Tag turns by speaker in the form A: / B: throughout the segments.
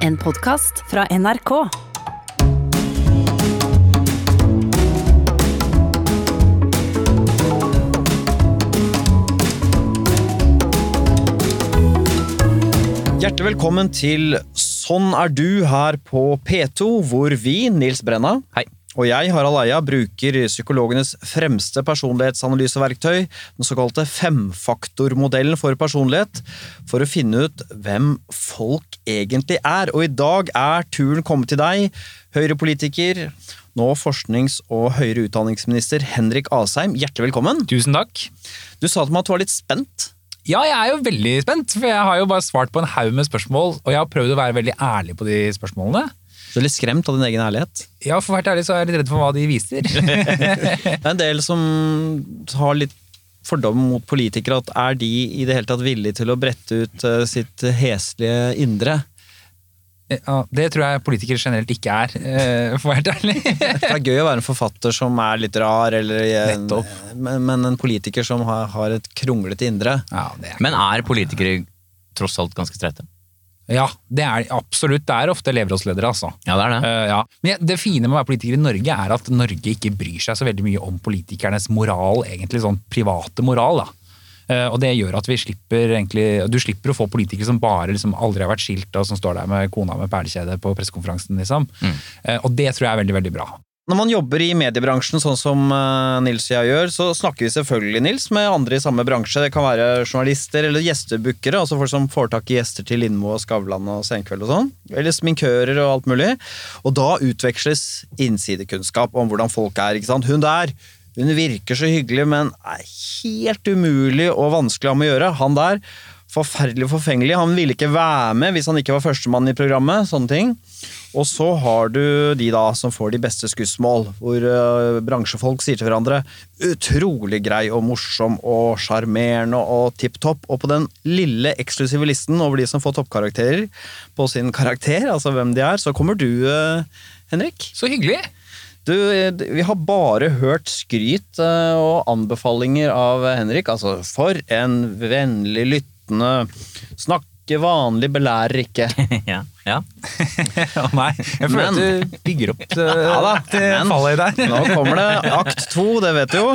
A: En podkast fra NRK.
B: Hjertelig velkommen til Sånn er du her på P2, hvor vi, Nils Brenna
C: Hei.
B: og jeg, Harald Eia, bruker psykologenes fremste personlighetsanalyseverktøy, den såkalte femfaktormodellen for personlighet, for å finne ut hvem folk egentlig er. Og i dag er turen kommet til deg, Høyre-politiker, nå forsknings- og høyere utdanningsminister Henrik Asheim. Hjertelig velkommen.
C: Tusen takk.
B: Du sa til meg at du var litt spent.
C: Ja, jeg er jo veldig spent, for jeg har jo bare svart på en haug med spørsmål, og jeg har prøvd å være veldig ærlig på de spørsmålene.
B: Du er litt skremt av din egen ærlighet.
C: Ja, for å være ærlig så er jeg litt redd for hva de viser.
B: Det er en del som har litt fordom mot politikere, at er de i det hele tatt villige til å brette ut eh, sitt heslige indre?
C: ja, det tror jeg politikere generelt ikke er, eh, for å være helt ærlig.
B: Det er gøy å være en forfatter som er litt rar, eller, eh,
C: Nettopp.
B: men, men en politiker som har, har et kronglete indre.
C: Ja, det er,
D: Men er politikere tross alt ganske streite?
C: ja, det er absolutt. Det er ofte leverådsledere, altså.
D: Ja, det er det.
C: Eh, ja. Men jeg- det fine med å være politiker i Norge er at Norge ikke bryr seg så veldig mye om politikernes moral, egentlig sånn private moral. da. Eh, Og det gjør at vi slipper egentlig, du slipper å få politikere som bare liksom aldri har vært skilt og som står der med kona med perlekjede på pressekonferansen. Liksom. Eh, Og det tror jeg er veldig, veldig bra.
B: Når man jobber i mediebransjen, sånn som eh, Nils og jeg gjør, så snakker vi selvfølgelig Nils, med andre i samme bransje. Det kan være journalister eller gjestebukkere, altså folk som får tak i gjester til Lindmo og Skavlan og Senkveld og sånn. Eller sminkører og alt mulig. Og da utveksles innsidekunnskap om hvordan folk er. ikke sant? Hun der, hun virker så hyggelig, men er helt umulig og vanskelig å ha med å gjøre. Han der, forferdelig forfengelig. Han ville ikke være med hvis han ikke var førstemann i programmet. sånne ting. Og så har du de da som får de beste skussmål, hvor eh, bransjefolk sier til hverandre utrolig grei og morsom og sjarmerende og tipp topp. Og på den lille eksklusive listen over de som får toppkarakterer på sin karakter, altså hvem de er, så kommer du, eh, Henrik.
C: Så hyggelig!
B: Du, eh, vi har bare hørt skryt eh, og anbefalinger av Henrik. Altså, for en vennlig lyttende Snakke vanlig, belærer ikke.
D: ja. ja.
C: Å nei, jeg føler
B: Men-
C: at du bygger opp til,
B: da,
C: til
B: men-
C: fallet der.
B: Nå kommer det akt to, det vet du jo.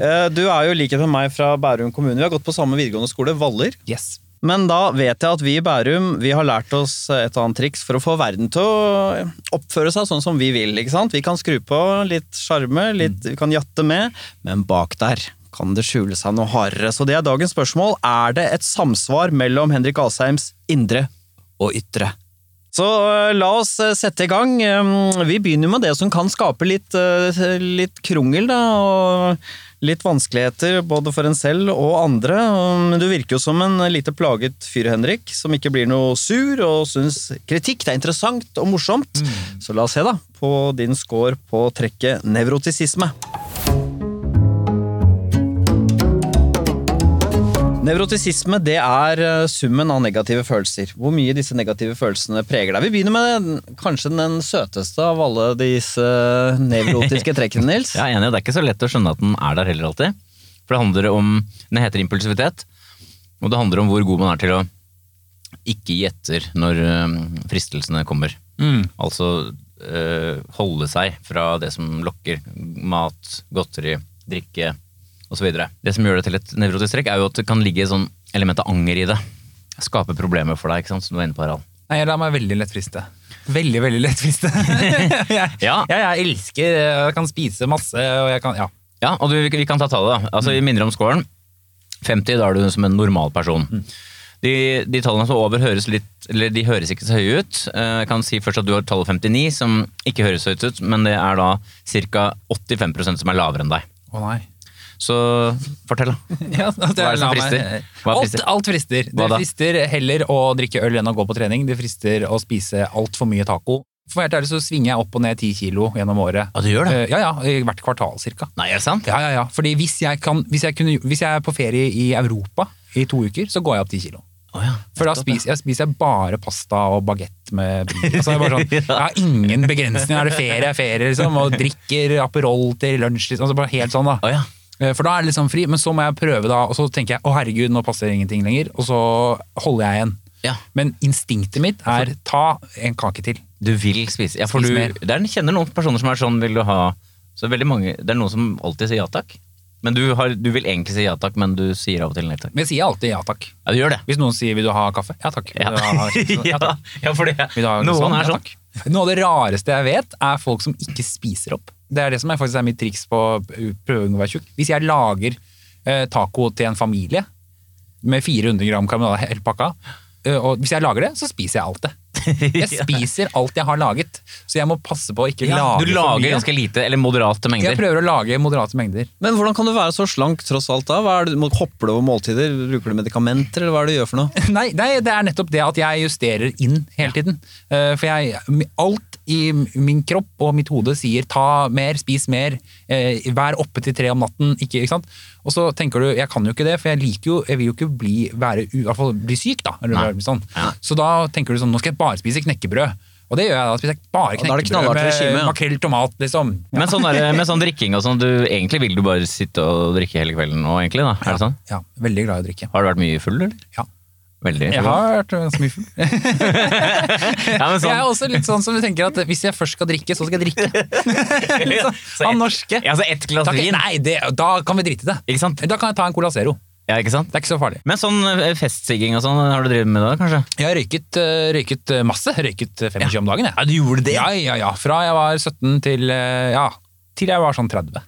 B: Eh, Du er jo i likhet med meg fra Bærum kommune. Vi har gått på samme videregående skole, Valler.
C: Yes.
B: Men da vet jeg at vi i Bærum vi har lært oss et annet triks for å få verden til å oppføre seg sånn som vi vil. ikke sant? Vi kan skru på litt sjarme, litt- vi kan jatte med, men bak der kan det skjule seg noe hardere. Så det er dagens spørsmål. Er det et samsvar mellom Henrik Asheims indre og ytre? Så øh, la oss øh, sette i gang. Ehm, Vi begynner med det som kan skape litt, øh, litt krongel, da, og litt vanskeligheter både for en selv og andre. Ehm, Men du virker jo som en lite plaget fyr, Henrik, som ikke blir noe sur og syns kritikk det er interessant og morsomt. Så la oss se, da, på din score på trekket nevrotisisme. Nevrotisisme det er eh, summen av negative følelser. Hvor mye disse negative følelsene preger deg. Vi begynner med den, kanskje den søteste av alle disse eh, nevrotiske trekkene, Nils.
D: Jeg er enig, og det er ikke så lett å skjønne at den er der heller alltid. For det handler om Den heter impulsivitet, og det handler om hvor god man er til å ikke gi etter når øhm, fristelsene kommer. Altså øh, holde seg fra det som lokker. Mat, godteri, drikke osv. Det som gjør det til et nevrotisk trekk, er jo at det kan ligge et sånn element av anger i det. Skape problemer for deg, ikke sant? som du var inne på, Harald.
C: Nei, jeg lar meg veldig lett friste. Veldig, veldig lett friste. jeg,
D: Ja.
C: jeg, jeg elsker eh, Jeg kan spise masse, og jeg kan Ja.
D: Ja, og du, vi, vi kan ta tallet. da. Altså, Vi minner om scoren. 50, da er du som en normal person. De, de tallene som er over høres litt, eller de høres ikke så høye ut. Eh, Jeg kan si først at du har tallet 59, som ikke høres høyt ut, men det er da ca. 85 som er lavere enn deg.
C: Å nei.
D: Så fortell, da.
C: Ja, at jeg
D: Hva er det som
C: lar meg-
D: frister? Hva
C: alt,
D: frister?
C: alt frister. Det
D: Hva da?
C: frister heller å drikke øl enn å gå på trening. Det frister å spise altfor mye taco. For å være helt ærlig så svinger jeg opp og ned ti kilo gjennom året.
D: Ja, du gjør
C: Eh, Ja, ja, i Hvert kvartal cirka.
D: Nei, er det sant?
C: Ja, ja, ja. Fordi hvis jeg, kan, hvis, jeg kunne, hvis jeg er på ferie i Europa i to uker, så går jeg opp ti kilo.
D: Å ja.
C: For da spiser jeg, spiser jeg bare pasta og bagett med brød. Altså, det er bare sånn, jeg har ingen begrensning. Er det ferie, er ferie, liksom. Og drikker Aperol til lunsj, liksom. Altså, bare helt sånn, da.
D: Å ja.
C: Eh, For da er det liksom fri, men så må jeg prøve, da. Og så tenker jeg å herregud, nå passer ingenting lenger. Og så holder jeg igjen.
D: Ja.
C: Men instinktet mitt er ta en kake til.
D: Du vil spise. Ja, for
C: Spis
D: du,
C: mer.
D: det er, kjenner noen personer som er sånn, vil du ha Så veldig mange, det er noen som alltid sier ja takk. Men du, har, du vil egentlig si ja takk, men du sier av og til nei takk.
C: Men jeg sier alltid ja takk.
D: Ja, du gjør det.
C: Hvis noen sier 'vil du ha kaffe'? Ja takk. Vil
D: Ja,
C: du ha, ja,
D: ja,
C: takk.
D: ja for det.
C: Vil du ha
D: Noen
C: croissant?
D: er
C: Ja,
D: sånn.
C: takk. Noe av det rareste jeg vet, er folk som ikke spiser opp. Det er det som er, faktisk er mitt triks på å prøve å unngå å være tjukk. Hvis jeg lager eh, taco til en familie med 400 gram karbonade hele pakka, eh, og hvis jeg lager det, så spiser jeg alt det. Jeg spiser alt jeg har laget, så jeg må passe på å ikke
D: Ja,
C: lage for
D: du
C: mye.
D: lager ganske lite, eller moderate
C: jeg
D: mengder.
C: prøver å lage moderate mengder.
B: Men hvordan kan du være så slank tross alt da? Hva er det, må- hopper du over måltider? Bruker du medikamenter, eller hva er det du gjør for noe?
C: Nei, nei, det er nettopp det at jeg justerer inn hele tiden. Eh, For jeg, alt i min kropp og mitt hode sier ta mer, spis mer, eh, vær oppe til tre om natten. Ikke, ikke sant? Og så tenker du jeg kan jo ikke det, for jeg liker jo, jeg vil jo ikke bli, være, u- i hvert fall bli syk. da. Eller,
D: Nei.
C: være sånn.
D: Ja.
C: Så da tenker du sånn nå skal jeg bare spise knekkebrød. Og det gjør jeg da. spiser jeg
B: da er
C: bare
B: det
C: knekkebrød
B: knallhardt
C: med
B: regime, ja.
C: makrell tomat, liksom.
D: Men sånn der, med sånn drikking og sånn, du, egentlig vil du bare sitte og drikke hele kvelden nå, egentlig? da, er det sånn?
C: Ja, veldig glad i å drikke.
D: Har du vært mye full, eller?
C: Ja.
D: Veldig
C: Jeg
D: full.
C: har vært ganske mye full.
D: Ja, men
C: Jeg er
D: sånn,
C: også litt sånn som tenker at hvis jeg først skal drikke, så skal jeg drikke. litt sånn, han norske.
D: ja, så ett glass
C: Da kan-
D: vin.
C: Nei, det, da kan vi drite i det.
D: Ikke sant?
C: Da kan jeg ta en Cola Zero.
D: Ja, ikke sant?
C: Det er ikke så farlig.
D: Men sånn eh, festsigging og sånn, har du drevet med det, kanskje?
C: Jeg har røyket, eh, røyket eh, masse. Røyket eh, 25 om dagen, jeg.
D: du gjorde
C: Ja, ja, ja. Fra jeg var 17 til eh, ja, til jeg var sånn 30.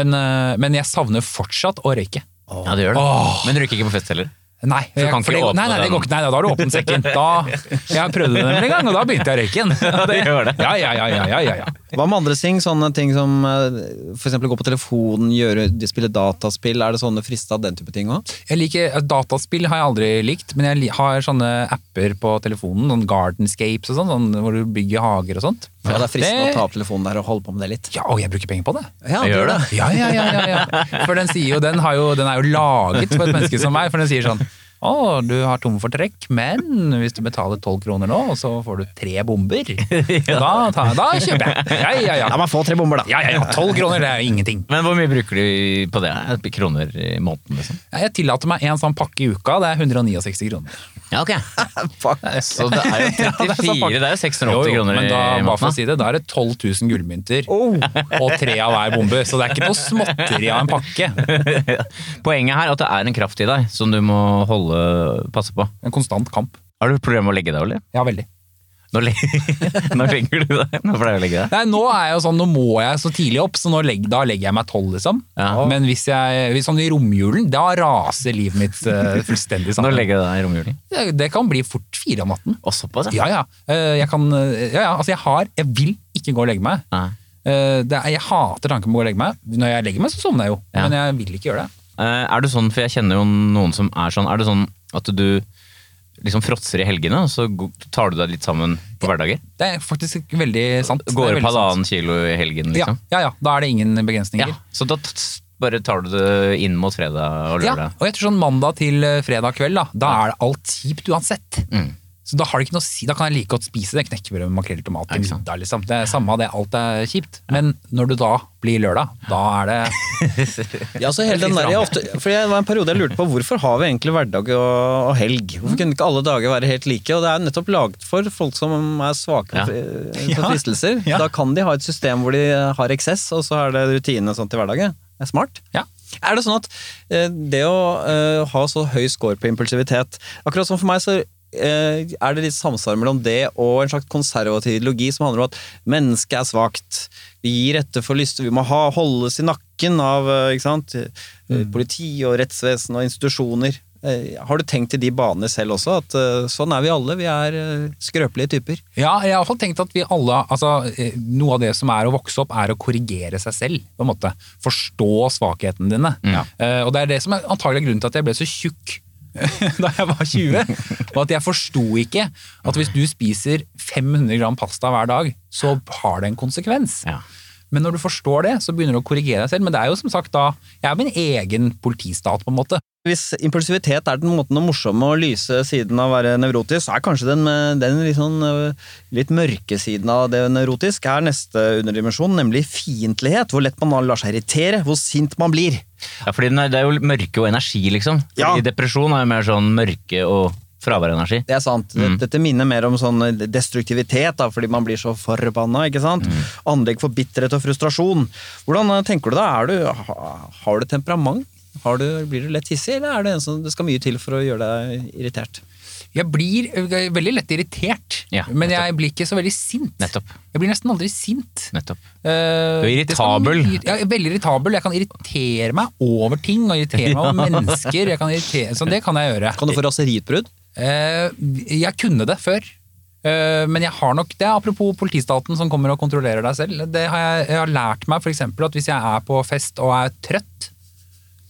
C: Men, eh, men jeg savner fortsatt å røyke.
D: Ja, det gjør det.
C: Åh.
D: Men du røyker ikke på fest heller?
C: Nei, jeg,
D: kan
C: for
D: ikke
C: det,
D: åpne
C: nei, nei, det går ikke, nei, da har du åpnet sekken. Da, jeg prøvde det nemlig en gang, og da begynte jeg å røyke igjen.
D: det gjør det.
C: Ja, ja, ja, ja, ja, ja, ja.
B: Hva med andre ting? Sånne ting som eh, for eksempel gå på telefonen, gjøre, de spiller dataspill. Er det sånne frista den type ting òg?
C: Jeg liker, eh, dataspill har jeg aldri likt, men jeg li- har sånne apper på telefonen, sånn Gardenscapes og sånn, sånn hvor du bygger hager og sånt.
B: Ja, det er fristende
C: Det-
B: å ta opp telefonen der og holde på med det litt.
C: Ja, og jeg bruker penger på det.
B: Ja,
D: Jeg gjør det.
C: Ja, ja, ja, ja, ja. For den sier jo, den, har jo, den er jo laget for et menneske som meg, for den sier sånn, å, du har tom for trekk, men hvis du betaler 12 kroner nå, så får du tre bomber. Og Da, tar, da kjøper jeg. Ja, ja, ja.
B: La meg få tre bomber, da.
C: Ja, ja, ja, 12 kroner, det er jo ingenting.
D: Men hvor mye bruker du på det? I Kroner i måneden, liksom?
C: Ja, Jeg tillater meg en sånn pakke i uka, det er 169 kroner.
D: Ja, ok.
B: Fuck.
D: Så det er jo
C: det er
D: 34,
C: sånn
D: det er jo 680 kroner
C: men da,
D: i
C: bare for å
D: måneden.
C: si det, da er det 12 000 gullmynter og tre av hver bombe. Så det er ikke noe småtteri av en pakke.
D: Poenget her er at det er en kraft i deg som du må holde, passe på.
C: En konstant kamp.
D: Har du problemer med å legge deg, Olli?
C: Ja, veldig.
D: Nå, le nå legger du deg. Nå pleier du å legge deg.
C: Nei, nå er jeg jo sånn, nå må jeg så tidlig opp, så nå legg, da legger jeg meg tolv, liksom.
D: Ja.
C: Men hvis jeg, hvis sånn i romjulen, da raser livet mitt eh, fullstendig
D: Nå
C: sammen.
D: legger jeg deg i romjulen.
C: Det, det kan bli fort fire om natten.
D: Å, såpass,
C: Ja,
D: ja.
C: ja. Eh, Jeg kan, eh, ja, ja. Altså, jeg har, jeg vil ikke gå og legge meg.
D: Nei.
C: Eh, Det er, jeg hater tanken på å gå og legge meg. Når jeg legger meg, så sovner jeg jo.
D: Ja.
C: Men jeg vil ikke gjøre det.
D: Eh, Er det sånn, for jeg kjenner jo noen som er sånn, er det sånn at du liksom fråtser i helgene, og så go- tar du deg litt sammen på hverdager?
C: Det er faktisk veldig sant. Det
D: Går
C: er
D: opp
C: veldig sant.
D: halvannen kilo i helgen, liksom?
C: Ja, ja, ja, da er det ingen begrensninger.
D: Ja, så da t- bare tar du det inn mot fredag og
C: Ja,
D: lørdag.
C: og jeg tror sånn mandag til eh, fredag kveld, da, da er det alt kjipt uansett.
D: Mm.
C: Så da, har det ikke noe, å si- da kan jeg like godt spise det knekkebrødet med makrell i tomat til
D: ikke sant.
C: middag. Liksom. Det er samme av det, alt er kjipt. Men når du da blir lørdag, da er det
B: Ja, så hele den der, jeg ofte, for jeg, det var en periode jeg lurte på hvorfor har vi egentlig hverdag og, og helg? Hvorfor kunne ikke alle dager være helt like? Og det er nettopp laget for folk som er svake
D: Ja.
B: for, eh,
C: Ja.
B: for fristelser.
C: Ja.
B: Da kan de ha et system hvor de har eksess, og så er det rutinene sånn til hverdagen. Det er smart.
C: Ja.
B: Er det sånn at eh, det å eh, ha så høy score på impulsivitet Akkurat som for meg, så eh, er det litt samsvar mellom det og en slags konservativ ideologi som handler om at mennesket er svakt. Vi gir etter for lyster. Vi må ha, holdes i nakken av eh, ikke sant? eh, politi og rettsvesen og institusjoner. Eh, Har du tenkt i de banene selv også? At eh, sånn er vi alle. Vi er eh, skrøpelige typer.
C: Ja, jeg har i hvert fall tenkt at vi alle altså, eh, Noe av det som er å vokse opp, er å korrigere seg selv. på en måte. Forstå svakhetene dine.
D: Ja.
C: Eh, og det er det som er antagelig grunnen til at jeg ble så tjukk da jeg var 20. Og at jeg forsto ikke at hvis du spiser 500 gram pasta hver dag, så har det en konsekvens.
D: Ja.
C: Men når du forstår det, så begynner du å korrigere deg selv. Men det er jo som sagt da Jeg er min egen politistat, på en måte.
B: Hvis impulsivitet er den måten å morsomme og lyse siden av å være nevrotisk, så er kanskje den, eh, den litt, sånn, eh, litt mørke siden av det nevrotisk er neste underdimensjon, nemlig fiendtlighet. Hvor lett man da lar seg irritere, hvor sint man blir.
D: Ja, fordi den er, det er jo mørke og energi, liksom. Fordi
B: Ja.
D: Depresjon er jo mer sånn mørke og fravær av energi.
B: Det er sant. Dette minner mer om sånn destruktivitet, da, fordi man blir så forbanna. ikke sant? Anlegg for bitterhet og frustrasjon. Hvordan eh, tenker du da? Er du, ha- har du temperament? Har du, blir du lett hissig, eller er det en som det skal mye til for å gjøre deg irritert?
C: Jeg blir eh, veldig lett irritert,
D: Ja,
C: men jeg blir ikke så veldig sint.
D: Nettopp.
C: Jeg blir nesten aldri sint.
D: Nettopp.
C: Eh,
D: Du er
C: det skal mye-
D: irritabel.
C: Ja, jeg er veldig irritabel. Jeg kan irritere meg over ting, og irritere meg over mennesker. Jeg kan irritere, så det kan jeg gjøre.
B: Kan du få raseriutbrudd?
C: Eh, jeg kunne det før. Eh, men jeg har nok det, er apropos politistaten som kommer og kontrollerer deg selv. Det har jeg, jeg har lært meg for eksempel, at hvis jeg er på fest og er trøtt,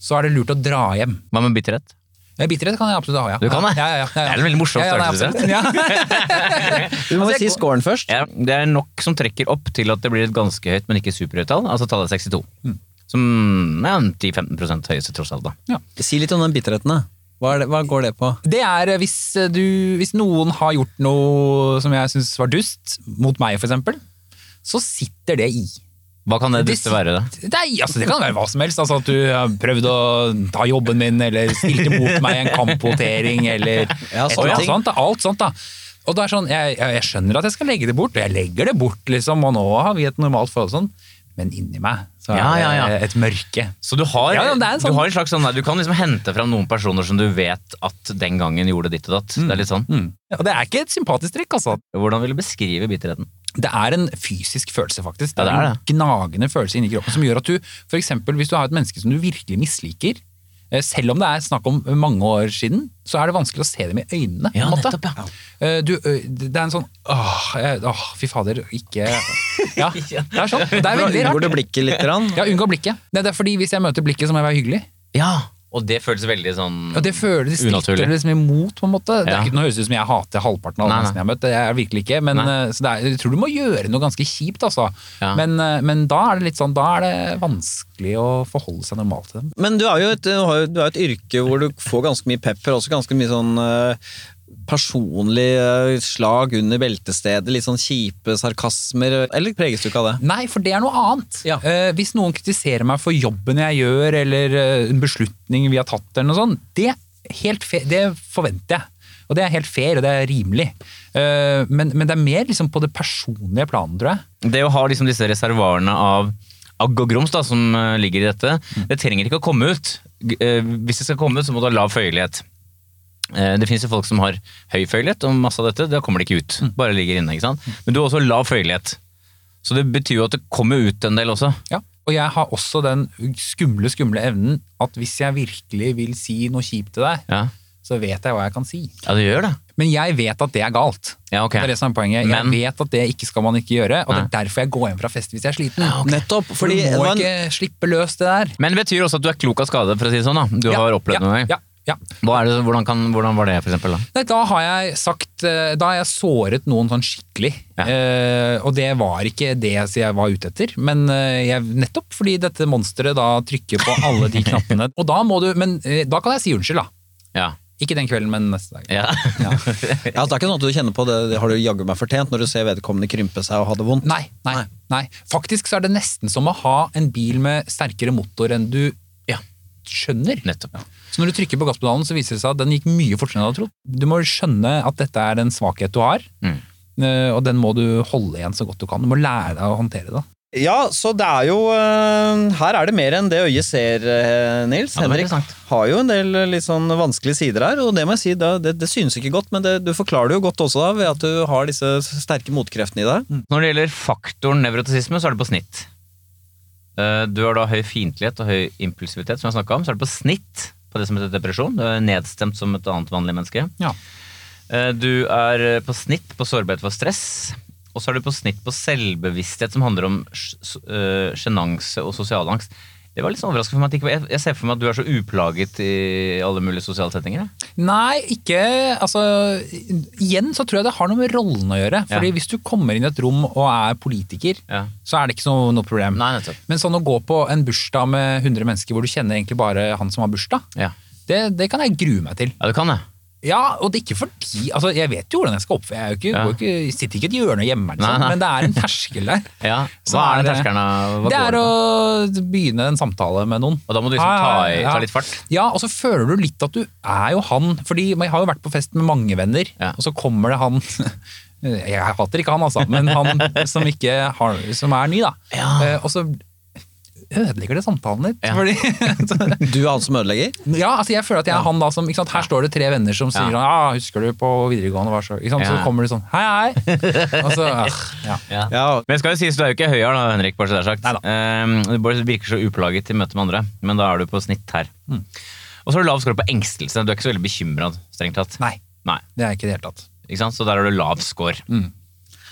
C: så er det lurt å dra hjem.
D: Hva med bitterhet?
C: Eh, Bitterhet kan jeg absolutt ha, ja.
D: Du kan det?
C: Ja, ja, ja, ja, ja.
D: Det er en veldig morsom
C: Ja, ja, nei,
D: størrelse,
C: absolutt, ja.
B: Du må
C: Altså,
B: si
C: jeg-
B: scoren først.
D: Ja, det er nok som trekker opp til at det blir et ganske høyt, men ikke superhøyt tall. Altså tallet er 62. Som er en 10-15 høyeste, tross alt. da.
B: Si litt om den bitterheten. da. Hva, er det, hva går det på?
C: Det er eh, hvis, eh, du, hvis noen har gjort noe som jeg syns var dust, mot meg for eksempel, så sitter det i.
D: Hva kan det
C: Det
D: duste være, da?
C: Nei, altså Det kan være hva som helst. Altså At du har prøvd å ta jobben min, eller stilte mot meg i en kampvotering, eller
B: Ja,
C: et
B: sånne
C: eller annet
B: ting.
C: sånt. Da. Alt sånt, da. Og det er sånn, jeg, jeg, jeg skjønner at jeg skal legge det bort, og jeg legger det bort, liksom, og nå har vi et normalt forhold sånn, men inni meg så er
D: Ja, ja, ja.
C: det et mørke.
D: Så du har,
C: Ja, ja, det er en sånn-
D: du har en slags sånn nei, Du kan liksom hente fram noen personer som du vet at den gangen gjorde ditt og datt. Det er litt sånn.
C: Og det er ikke et sympatisk trekk, altså.
D: Hvordan vil du beskrive bitterheten?
C: Det er en fysisk følelse, faktisk. Det
D: Ja,
C: er, en
D: det er
C: gnagende følelse inni kroppen som gjør at du, for eksempel hvis du har et menneske som du virkelig misliker, eh, selv om det er snakk om mange år siden, så er det vanskelig å se dem i øynene. på en
D: Ja,
C: måte.
D: nettopp, ja.
C: Eh, Du, ø, det er en sånn åh, jeg- åh, fy fader, ikke Ja, det er sånn. Det er
B: Hvordan
C: veldig
B: Unngår
C: rart.
B: du blikket litt? Grann?
C: Ja, unngå blikket. Nei, Det er fordi hvis jeg møter blikket, så må jeg være hyggelig.
D: Ja, Og det føles veldig sånn
C: Og det føles det stritter
D: Unaturlig.
C: det liksom imot, på en måte. Det
D: Ja.
C: er ikke, nå høres det ut som jeg hater halvparten av alle
D: Nei, nei.
C: menneskene jeg har møtt, det er jeg virkelig ikke. Men,
D: Nei.
C: eh, så det er, jeg tror du må gjøre noe ganske kjipt, altså.
D: Ja.
C: Men, eh, men da er det litt sånn, da er det vanskelig å forholde seg normalt til dem.
B: Men du er jo et, du har jo, du er et yrke hvor du får ganske mye pepper, også ganske mye sånn eh, personlig eh, slag under beltestedet, litt sånn kjipe sarkasmer, eller preges du ikke av det?
C: Nei, for det er noe annet.
B: Ja.
C: Eh, hvis noen kritiserer meg for jobben jeg gjør, eller eh, en beslutning vi har tatt, eller noe sånt, det, er helt fe- det forventer jeg. Og det er helt fair, og det er rimelig. Eh, men, men det er mer liksom på det personlige planet, tror jeg.
D: Det å ha liksom disse reservoarene av agg og grums da, som eh, ligger i dette,
C: Mm.
D: det trenger ikke å komme ut. G- eh, Hvis det skal komme ut, så må du ha lav føyelighet. Eh, Det finnes jo folk som har høy føyelighet, og masse av dette da kommer det ikke ut.
C: Mm.
D: Bare ligger inne, ikke sant? Men du har også lav føyelighet. Så det betyr jo at det kommer ut en del også.
C: Ja. Og jeg har også den skumle, skumle evnen at hvis jeg virkelig vil si noe kjipt til deg,
D: Ja,
C: så vet jeg hva jeg kan si.
D: ja det gjør det.
C: Men jeg vet at det er galt.
D: Ja, ok.
C: Det er det som er poenget. Jeg
D: Men-
C: vet at det ikke skal man ikke gjøre, og det er
D: Nei.
C: derfor jeg går hjem fra fest hvis jeg er sliten.
B: Nettopp,
C: For
B: fordi
C: du
B: det
C: må
B: var en,
C: ikke slippe løs det der.
D: Men det betyr også at du er klok av skade, for å si det sånn. da. Du
C: Ja,
D: har opplevd
C: ja,
D: noe.
C: Ja, ja.
D: Hva er det, hvordan, kan, hvordan var det, for eksempel? Da?
C: Nei, da har jeg sagt eh, Da har jeg såret noen sånn skikkelig.
D: Ja.
C: Eh, og det var ikke det jeg sier jeg var ute etter, men eh, jeg, nettopp fordi dette monsteret da trykker på alle de knappene. Og da må du Men eh, da kan jeg si unnskyld, da.
D: Ja.
C: Ikke den kvelden, men neste dag.
D: ja.
B: ja, altså, det er ikke sånn at du kjenner på det, det har du jaggu meg fortjent, når du ser vedkommende krympe seg og ha det vondt.
C: Nei, nei, nei. Faktisk så er det nesten som å ha en bil med sterkere motor enn du ja, skjønner.
D: Nettopp.
C: Så når du trykker på gasspedalen, så viser det seg at den gikk mye fortere enn du hadde trodd. Du må skjønne at dette er en svakhet du har,
D: Mm.
C: eh, og den må du holde igjen så godt du kan. Du må lære deg å håndtere det.
B: Ja, så det er jo eh, Her er det mer enn det øyet ser, eh, Nils.
D: Ja, det var
B: Henrik
D: interessant.
B: har jo en del eh, litt sånn vanskelige sider her, og det må jeg si, det, det, det synes ikke godt, men det, du forklarer det jo godt også da, ved at du har disse sterke motkreftene i deg.
C: Mm.
D: Når det gjelder faktoren nevrotisisme, så er det på snitt. Eh, Du har da høy fiendtlighet og høy impulsivitet, som jeg snakket om. Så er det på snitt på det som heter depresjon. Du er nedstemt som et annet vanlig menneske.
C: Ja.
D: Eh, Du er eh, på snitt på sårbarhet for stress. Og så er du på snitt på selvbevissthet, som handler om sj- s- eh, sjenanse og sosial angst. Det var litt sånn overraskende for meg. at det ikke var- Jeg jeg ser for meg at du er så uplaget i alle mulige sosiale settinger. jeg.
C: Nei, ikke Altså, igjen så tror jeg det har noe med rollen å gjøre. Fordi
D: Ja.
C: hvis du kommer inn i et rom og er politiker,
D: Ja.
C: så er det ikke så, noe problem.
D: Nei, nettopp.
C: Men sånn å gå på en bursdag med 100 mennesker hvor du kjenner egentlig bare han som har bursdag,
D: Ja.
C: det, det kan jeg grue meg til.
D: ja, du kan det.
C: Ja, og det er ikke fordi altså, Jeg vet jo hvordan jeg skal oppføre Jeg er jo ikke,
D: Ja.
C: går jo ikke, sitter ikke i et hjørne og gjemmer meg,
D: Nei,
C: liksom,
D: nei.
C: men det er en terskel der.
D: Ja,
C: Så
D: Hva er den
C: det-
D: terskelen? da? Hva
C: Det
D: går
C: er
D: den på?
C: å begynne en samtale med noen.
D: Og da må du liksom ta i- ta litt fart.
C: Ja, og så føler du litt at du er jo han. Fordi jeg har jo vært på fest med mange venner,
D: Ja.
C: og så kommer det han Jeg hater ikke han, altså, men han som, ikke har, som er ny, da.
D: Ja.
C: Eh, Og så ødelegger det samtalen litt.
D: Ja.
C: Fordi, så,
B: Du er han som ødelegger?
C: ja, altså jeg føler at jeg er han da som ikke sant? Her står det tre venner som sier
D: Ja.
C: sånn ah, 'Husker du på videregående?' Var så, ikke sant?
D: Ja.
C: så kommer du sånn 'Hei, hei'. Og så, ah, ja.
D: Ja.
B: Ja.
D: Men jeg skal jo sies, du er jo ikke høyere da, Henrik, bare så det er sagt.
C: Neida.
D: Ehm, du bare virker så uplaget i møte med andre, men da er du på snitt her.
C: Mm.
D: Og så har du lav score på engstelse. Du er ikke så veldig bekymra, strengt tatt.
C: Nei, det er ikke i det hele tatt. Mm.
D: Ikke sant? Så der har du lav score.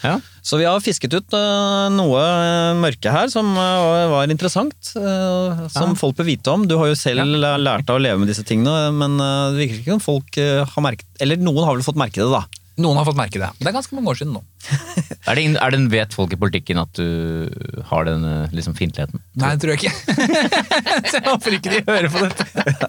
D: Ja.
B: Så vi har fisket ut øh, noe øh, mørke her som øh, var interessant. øh, som folk bør vite om. Du har jo selv læ- lært deg å leve med disse tingene, men øh, det virker ikke som folk øh, har merket Eller noen har vel fått merke det, da.
C: Noen har fått merke det. Det er ganske mange år siden nå.
D: Er det, ingen- er det en vet folk i politikken at du har den eh, liksom fiendtligheten?
C: Nei, det tror jeg ikke. så jeg håper ikke de hører på dette.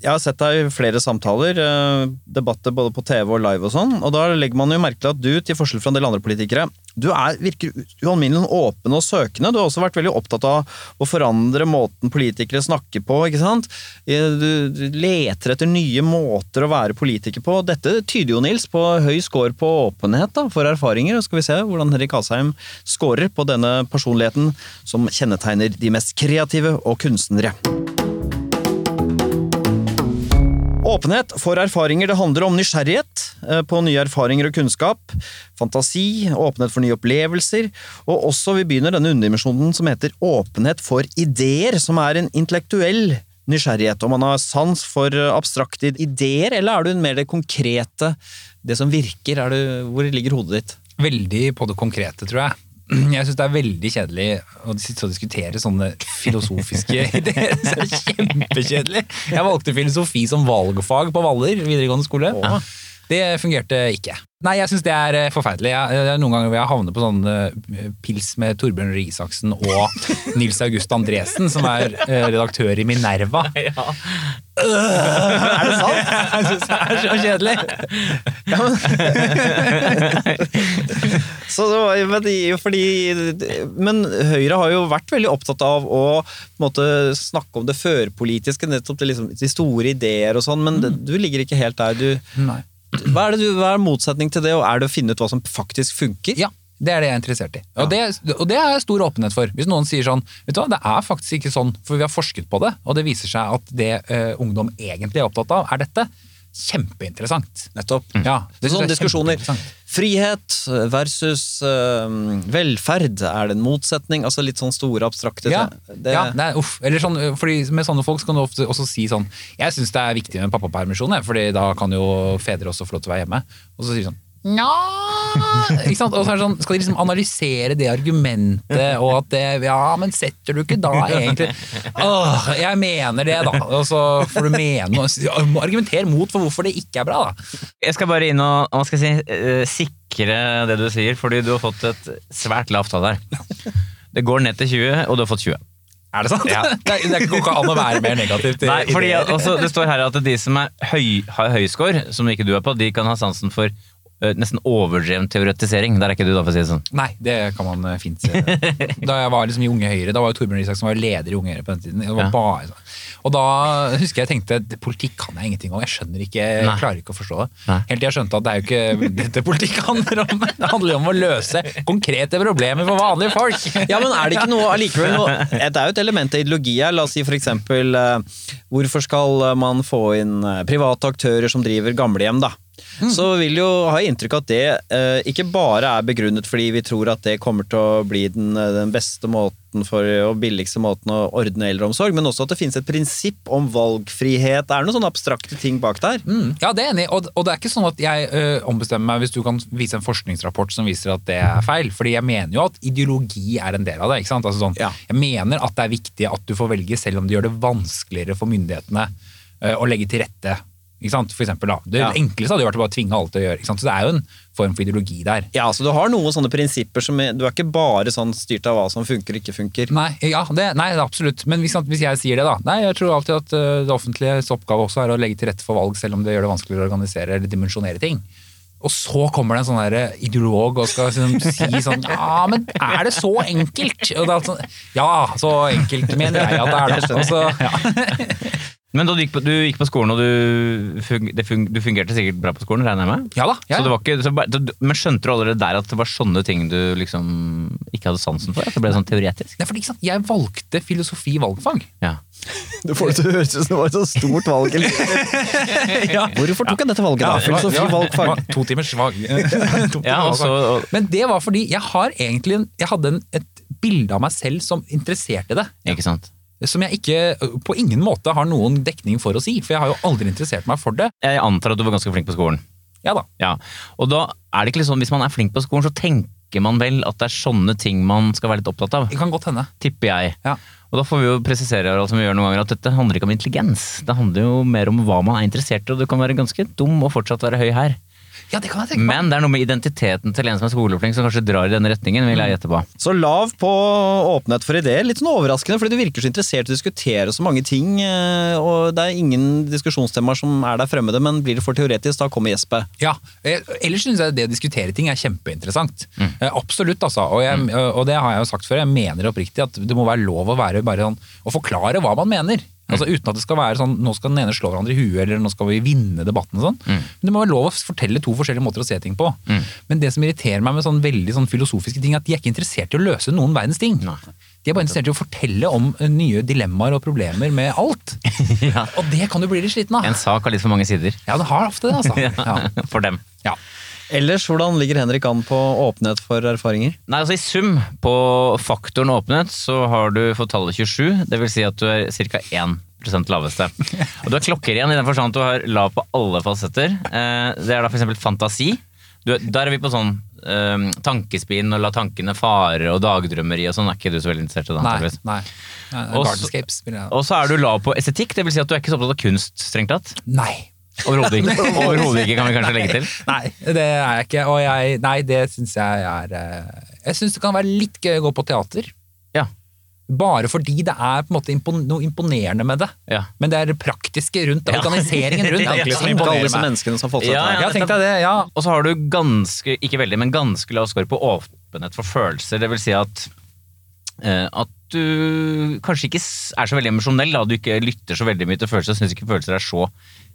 B: Jeg har sett deg i flere samtaler, eh, debatter både på TV og live og sånn, og da legger man jo merke til at du, til forskjell fra en del andre politikere, du er, virker u- ualminnelig sånn åpen og søkende. Du har også vært veldig opptatt av å forandre måten politikere snakker på, ikke sant? Eh, Du du leter etter nye måter å være politiker på. Dette tyder jo, Nils, på høy score på åpenhet da, for erfaringer, og skal vi se hvordan Henrik Asheim scorer på denne personligheten som kjennetegner de mest kreative og kunstnere. Åpenhet for erfaringer det handler om nysgjerrighet eh, på nye erfaringer og kunnskap, fantasi, åpenhet for nye opplevelser, og også vi begynner denne underdimensjonen som heter åpenhet for ideer, som er en intellektuell nysgjerrighet. Om man har sans for eh, abstrakte ideer, eller er du en mer det konkrete, det som virker? Er du, hvor ligger hodet ditt?
C: Veldig på det konkrete, tror jeg. Jeg syns det er veldig kjedelig å sitte og diskutere sånne filosofiske ideer. Så det er Kjempekjedelig! Jeg valgte filosofi som valgfag på Hvaler videregående skole.
B: Åh.
C: Det fungerte ikke. Nei, jeg syns det er eh, forferdelig. Jeg, jeg, noen ganger vil jeg havne på sånn eh, pils med Torbjørn Røe Isaksen og Nils August Andresen, som er eh, redaktør i Minerva.
B: Er det sant?
C: Jeg syns det er så kjedelig!
B: Så det var, men, de- fordi, men Høyre har jo vært veldig opptatt av å på en måte, snakke om det førpolitiske, nettopp det, liksom, de store ideer og sånn, men det, du ligger ikke helt der. Du,
C: Nei.
B: hva er det du, hva er motsetning til det, og er det å finne ut hva som faktisk funker?
C: Ja, det er det jeg er interessert i. Og, det, og det er jeg stor åpenhet for. Hvis noen sier sånn, vet du hva, det er faktisk ikke sånn, for vi har forsket på det, og det viser seg at det eh, ungdom egentlig er opptatt av, er dette. Kjempeinteressant.
B: Nettopp.
C: Ja,
B: Det er
C: synes jeg
B: sånne
C: er
B: diskusjoner.
C: kjempeinteressant.
B: Frihet versus øhm, velferd, er det en motsetning? Altså litt sånn store, abstrakte
C: Ja,
B: det,
C: ja nei, uff. Eller sånn, eh, fordi med sånne folk så kan du ofte også si sånn Jeg syns det er viktig med pappapermisjon, jeg, Fordi da kan jo fedre også få lov til å være hjemme. Og så sier de sånn Nja Ikke sant? Og så er det sånn, skal de liksom analysere det argumentet, og at det Ja, men setter du ikke da egentlig Åh, jeg mener det, da. Og så får du mene noe. Argumenter mot for hvorfor det ikke er bra, da.
D: Jeg skal bare inn og hva skal jeg si, eh, sikre det du sier, fordi du har fått et svært lavt tall her. Det går ned til 20, og du har fått 20.
C: Er det sant?
D: Ja.
C: Det, er, det er ikke går ikke an å være mer negativ til
D: Nei, fordi
C: eh, ideer.
D: altså, Det står her at de som er høy, har høy score, som ikke du er på, de kan ha sansen for eh, nesten overdreven teoretisering. Der er ikke du, da, for å si det sånn.
C: Nei, det kan man eh, fint se. Da jeg var liksom i Unge Høyre, da var jo Torbjørn Røe Isaksen var jo leder i Unge Høyre på den tiden. Det var
D: Ja.
C: bare sånn. Og da husker jeg tenkte "Det- politikk kan jeg ingenting om. Jeg skjønner ikke, jeg
D: Nei.
C: klarer ikke å forstå det.
D: Nei.
C: Helt til jeg skjønte at det er jo ikke dette politikk handler om. Det handler jo om å løse konkrete problemer for vanlige folk.
B: Ja, men er det ikke noe allikevel noe Det er jo et element av ideologi her. La oss si for eksempel eh, Hvorfor skal man få inn eh, private aktører som driver gamlehjem, da? Så vil jo ha inntrykk av at det eh, ikke bare er begrunnet fordi vi tror at det kommer til å bli den, eh, den beste måten for, og billigste måten å ordne eldreomsorg, men også at det finnes et prinsipp om valgfrihet. Er det noen sånne abstrakte ting bak der?
C: Mm, ja, det er jeg enig. i. Og, og det er ikke sånn at jeg ø, ombestemmer meg hvis du kan vise en forskningsrapport som viser at det er feil. Fordi jeg mener jo at ideologi er en del av det. ikke sant? Altså sånn,
B: Ja.
C: Jeg mener at det er viktig at du får velge selv om det gjør det vanskeligere for myndighetene ø, å øh, legge til rette Ikke sant? For eksempel, da. Det
B: Ja.
C: enkleste hadde jo vært å bare tvinge alle til å gjøre. Ikke sant? Så det er jo en form for ideologi der.
B: Ja, så du har noen sånne prinsipper som Du er ikke bare sånn styrt av hva som funker og ikke funker.
C: Nei, ja, det, nei absolutt. Men hvis, hvis jeg sier det, da. Nei, jeg tror alltid at eh, det offentliges oppgave også er å legge til rette for valg, selv om det gjør det vanskeligere å organisere eller dimensjonere ting. Og så kommer det en sånn der ideolog og skal liksom si sånn Ja, men er det så enkelt? Og det er alt sånn, ja, så enkelt mener jeg at det er. Da. Og så-
D: Men da du gikk på, du gikk på skolen, og du, fung, det fung, du fungerte sikkert bra på skolen, regner jeg med?
C: ja da. Ja,
D: Så det
C: ja.
D: var ikke, så, bare- så- men skjønte du allerede der at det var sånne ting du liksom ikke hadde sansen for? At det ble sånn teoretisk?
C: Nei, fordi, ikke sant? Jeg valgte filosofi valgfag.
D: Ja.
B: Du får det til å høres ut som det var et så stort valg. Hvorfor tok han dette valget, da? Filosofi, valgfag.
C: Det var To timers valg. altså, To timers
D: Ja, og
C: valgfag.
D: så, og,
C: Men det var fordi jeg har egentlig en, jeg hadde en, et bilde av meg selv som interesserte det.
D: ikke sant?
C: Som jeg ikke på ingen måte har noen dekning for å si, for jeg har jo aldri interessert meg for det.
D: Jeg antar at du var ganske flink på skolen.
C: Ja da.
D: Ja. Og da er det ikke litt sånn, hvis man er flink på skolen, så tenker man vel at det er sånne ting man skal være litt opptatt av?
C: Det kan godt hende.
D: Tipper jeg.
C: Ja.
D: Og da får vi jo presisere Harald, som vi gjør noen ganger, at dette handler ikke om intelligens. Det handler jo mer om hva man er interessert i, og du kan være ganske dum og fortsatt være høy her.
C: Ja, det kan jeg tenke meg.
D: Men det er noe med identiteten til en som er skoleflink, som kanskje drar i denne retningen, vil jeg gjette på.
B: Så lav på åpenhet for ideer. Litt sånn overraskende, fordi du virker så interessert i å diskutere så mange ting. eh, Og det er ingen diskusjonstemaer som er der fremmede, men blir det for teoretisk, da kommer gjespet.
C: Ja, eh, Ellers syns jeg det å diskutere ting er kjempeinteressant. Eh, Absolutt, altså. Og, jeg,
D: Mm.
C: eh, og det har jeg jo sagt før, jeg mener oppriktig at det må være lov å være bare sånn, å forklare hva man mener. Altså
D: Mm.
C: Uten at det skal være sånn nå skal den ene slå hverandre i huet eller nå skal vi vinne debatten. og sånn.
D: Mm.
C: Men Det må være lov å fortelle to forskjellige måter å se ting på. Men det som irriterer meg med sånn veldig sånn filosofiske ting, er at de er ikke interessert i å løse noen verdens ting.
D: Nei.
C: De er bare interessert i å fortelle om eh, nye dilemmaer og problemer med alt.
D: Ja.
C: Og det kan du bli litt sliten av.
D: En sak har litt for mange sider.
C: Ja, det har ofte det, altså. Ja.
D: For dem.
C: Ja.
B: Ellers, hvordan ligger Henrik an på åpenhet for erfaringer?
D: Nei, altså I sum på faktoren åpenhet så har du fått tallet 27. Det vil si at du er ca. 1 laveste. Og du er klokkeren i den forstand at du har lav på alle fasetter. Eh, Det er da f.eks. fantasi. Du, er- der er vi på sånn eh, tankespinn og la tankene fare og dagdrømmeri og sånn. Er ikke du så veldig interessert i det?
C: Nei,
D: antageligvis.
C: nei. nei
D: Og så-
C: Gardenscapes vil jeg
D: Og så er du lav på estetikk. Det vil si at du er ikke så opptatt av kunst, strengt tatt.
C: Nei.
D: Overhodet ikke. Overhodet ikke, kan vi kanskje legge til.
C: Nei, det er jeg ikke. Og jeg, nei, det syns jeg er eh, Jeg syns det kan være litt gøy å gå på teater.
D: Ja.
C: Bare fordi det er på en måte impon noe imponerende med det.
D: Ja.
C: Men det er det praktiske rundt det, organiseringen rundt
D: Ja,
C: det, egentlig, som
B: Tenk alle
C: imponerer
B: disse
C: meg.
B: menneskene som har fått seg
D: Ja,
B: til det.
D: ja.
C: Ja, tenk deg det. Ja.
D: Og så har du ganske, ikke veldig, men ganske lav score på åpenhet for følelser. Det vil si at, eh, at du kanskje ikke s- er så veldig emosjonell. da. Du ikke lytter så veldig mye til følelser og syns ikke følelser er så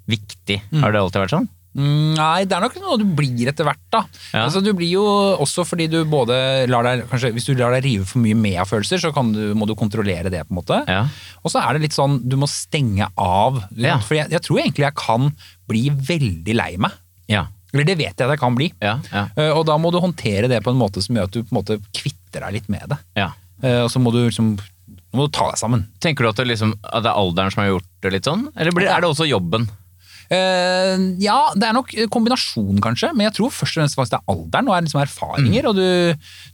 D: viktig. Har det alltid vært sånn?
C: Mm, Nei, det er nok noe du blir etter hvert, da.
D: Ja.
C: Altså, du blir jo også fordi du både lar deg Kanskje hvis du lar deg rive for mye med av følelser, så kan du, må du kontrollere det, på en måte.
D: Ja.
C: Og så er det litt sånn du må stenge av.
D: Ja.
C: For jeg, jeg tror egentlig jeg kan bli veldig lei meg.
D: Ja.
C: Eller det vet jeg at jeg kan bli.
D: Ja. Ja.
C: Eh, Og da må du håndtere det på en måte som gjør at du på en måte kvitter deg litt med det.
D: ja.
C: Eh, Og så må du liksom nå må du ta deg sammen.
D: Tenker du at det, liksom, at det er alderen som har gjort det litt sånn? Eller blir, er det også jobben?
C: Eh, ja, det er nok kombinasjon, kanskje, men jeg tror først og fremst faktisk det er alderen og er liksom
D: Mm.
C: erfaringer. Og du,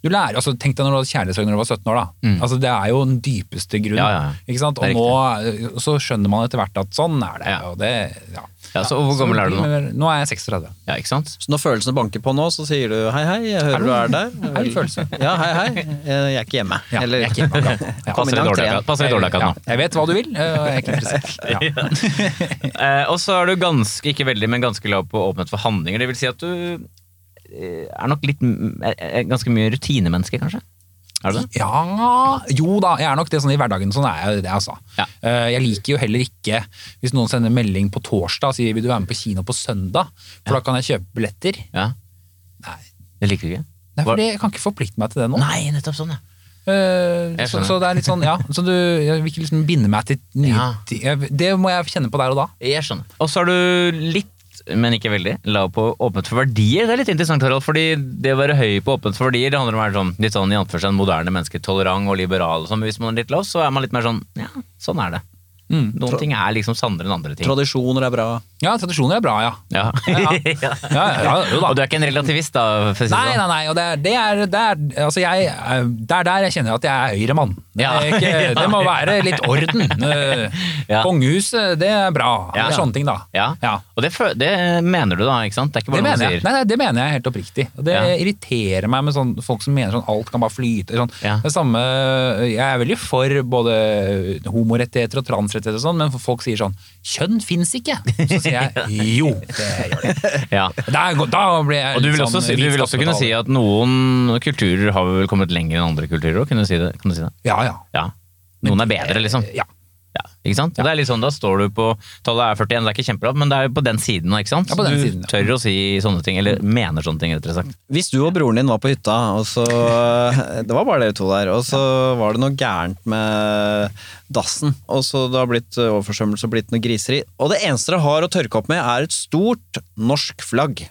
C: du lærer, altså Tenk deg når du hadde kjærlighetssorg når du var 17 år. da altså Det er jo den dypeste grunnen.
D: Mm. Ja, ja, ja.
C: Ikke sant?
D: Det
C: Og
D: er
C: nå eh, så skjønner man etter hvert at sånn er det.
D: Ja.
C: og det, ja.
D: Ja, så hvor
C: Så
D: gammel er du
C: blir
D: nå?
C: det- Nå er jeg 36.
D: Ja, ikke sant?
B: Så når følelsene banker på nå, så sier du hei, hei, jeg hører du er der.
C: Er det følelse?
B: Ja, hei, hei. Jeg er ikke hjemme.
C: Ja,
B: Eller-
C: jeg er ikke hjemme akkurat. Ja.
B: Kom
D: Passer
B: inn i
D: litt dårlig
B: entreen.
D: akkurat- passer litt dårlig akkurat nå.
C: Ja, jeg vet hva du vil, eh, og jeg er ikke interessert. Ja.
D: Eh, og så er du ganske, ikke veldig, men ganske lav på åpenhet for handlinger. Det vil si at du eh, er nok litt m- er- er ganske mye rutinemenneske, kanskje? Er du det?
C: Ja Jo da, jeg er nok det sånn i hverdagen. Sånn er jeg det, altså.
D: Ja.
C: Eh, Jeg liker jo heller ikke hvis noen sender melding på torsdag og sier vil du være med på kino på søndag, for da kan jeg kjøpe billetter.
D: Ja.
C: Nei,
D: Det liker du ikke?
C: Nei
D: Hva-
C: for det, jeg kan ikke forplikte meg til det nå.
D: Nei, nettopp sånn, ja.
C: Eh,
D: Jeg
C: så,
D: skjønner.
C: så det er litt sånn, ja. Så du, jeg vil ikke liksom binde meg til nye
D: Ja.
C: ting. Jeg- Det må jeg kjenne på der og da.
D: Jeg skjønner. Og så er du litt, men ikke veldig, lav på åpenhet for verdier. Det er litt interessant, Harald, fordi det å være høy på åpenhet for verdier, det handler om å være sånn, litt sånn i anførselen moderne menneske, tolerant og liberal og sånn, men hvis man er litt lav, så er man litt mer sånn, ja, sånn er det. Noen ting er liksom sannere enn andre ting.
B: Tradisjoner er bra.
C: Ja, tradisjoner er bra, ja.
D: Ja. ja.
C: ja, ja jo da.
D: Og du er ikke en relativist, da? For å si det
C: Nei,
D: sånn.
C: eh, nei, nei. Og det er, det er, det er, altså jeg, er- det er der jeg kjenner at jeg er høyre mann.
D: Ja.
C: Det, er ikke, det må være litt orden. Eh,
D: Ja.
C: Kongehuset, det er bra.
D: Ja.
C: Det er sånne ting, da.
D: Ja.
C: Ja.
D: Og det, fø- det mener du, da? ikke sant? Det er ikke
C: Det
D: bare noe du
C: mener, jeg.
D: sier.
C: Nei, nei, det mener jeg helt oppriktig. Og Det
D: Ja.
C: irriterer meg med sånn, folk som mener sånn alt kan bare flyte. Sånn.
D: Ja.
C: Det samme, jeg er veldig for både homorettigheter og transrettigheter, og sånn, men folk sier sånn 'kjønn fins ikke'. Så sier jeg jo, det gjør det.
D: Ja.
C: Da, da blir jeg
D: Og du vil,
C: litt
D: også,
C: sånn
D: si, du vil også kunne si
C: vitenskapsbetaler.
D: at noen kulturer har vel kommet lenger enn andre kulturer òg? Kan du si det? Kan du si det?
C: Ja, ja.
D: Ja. Noen er bedre, liksom.
C: Ja.
D: Ja, ikke sant? Og Det er litt sånn, Da står du på Tallet er 41, det er ikke kjempelavt, men det er på den siden. ikke sant?
C: Ja, på den
D: du
C: siden, ja.
D: tør å si sånne ting, eller mener sånne ting, rett og slett.
B: Hvis du og broren din var på hytta, og så eh, Det var bare dere to der, og så var det noe gærent med dassen, og så det har blitt overforsømmelse og blitt noe griseri, og det eneste dere har å tørke opp med, er et stort norsk flagg.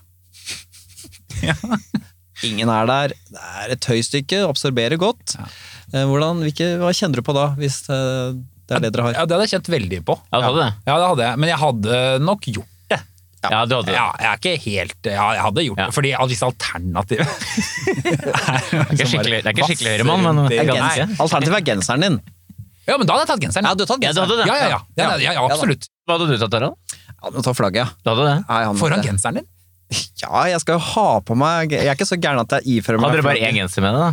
B: Ingen er der. Det er et tøystykke, absorberer godt. Eh, Hvordan, hvilke, hva kjenner du på da, hvis eh, det er det dere har?
C: ja, det hadde jeg kjent veldig på.
D: Ja, du hadde det?
C: Ja, det hadde jeg. Men jeg hadde nok gjort det.
D: Ja, du hadde det.
C: Ja, jeg er ikke helt Ja, jeg hadde gjort
D: Ja.
C: det, fordi hvis alternativet er
D: Det er ikke skikkelig, det er ikke skikkelig Høyre-mann, men
C: Vasser rundt i-
D: det kan
B: Gens-
D: jeg ikke.
B: Alternativet er genseren din.
C: Ja, men da hadde jeg tatt genseren.
B: Ja, du har tatt
D: Ja, du
B: genseren.
D: hadde det?
C: Ja, ja, ja. ja, ja, ja, absolutt.
D: Hva hadde du tatt, Harald?
B: Ja, du tar flagget, ja.
D: Du hadde det?
B: Nei, han-
C: Foran genseren din.
B: Ja, jeg skal jo ha på meg Jeg er ikke så gæren at jeg ifører meg
D: Hadde dere bare
B: flagget.
D: én genser med det, da?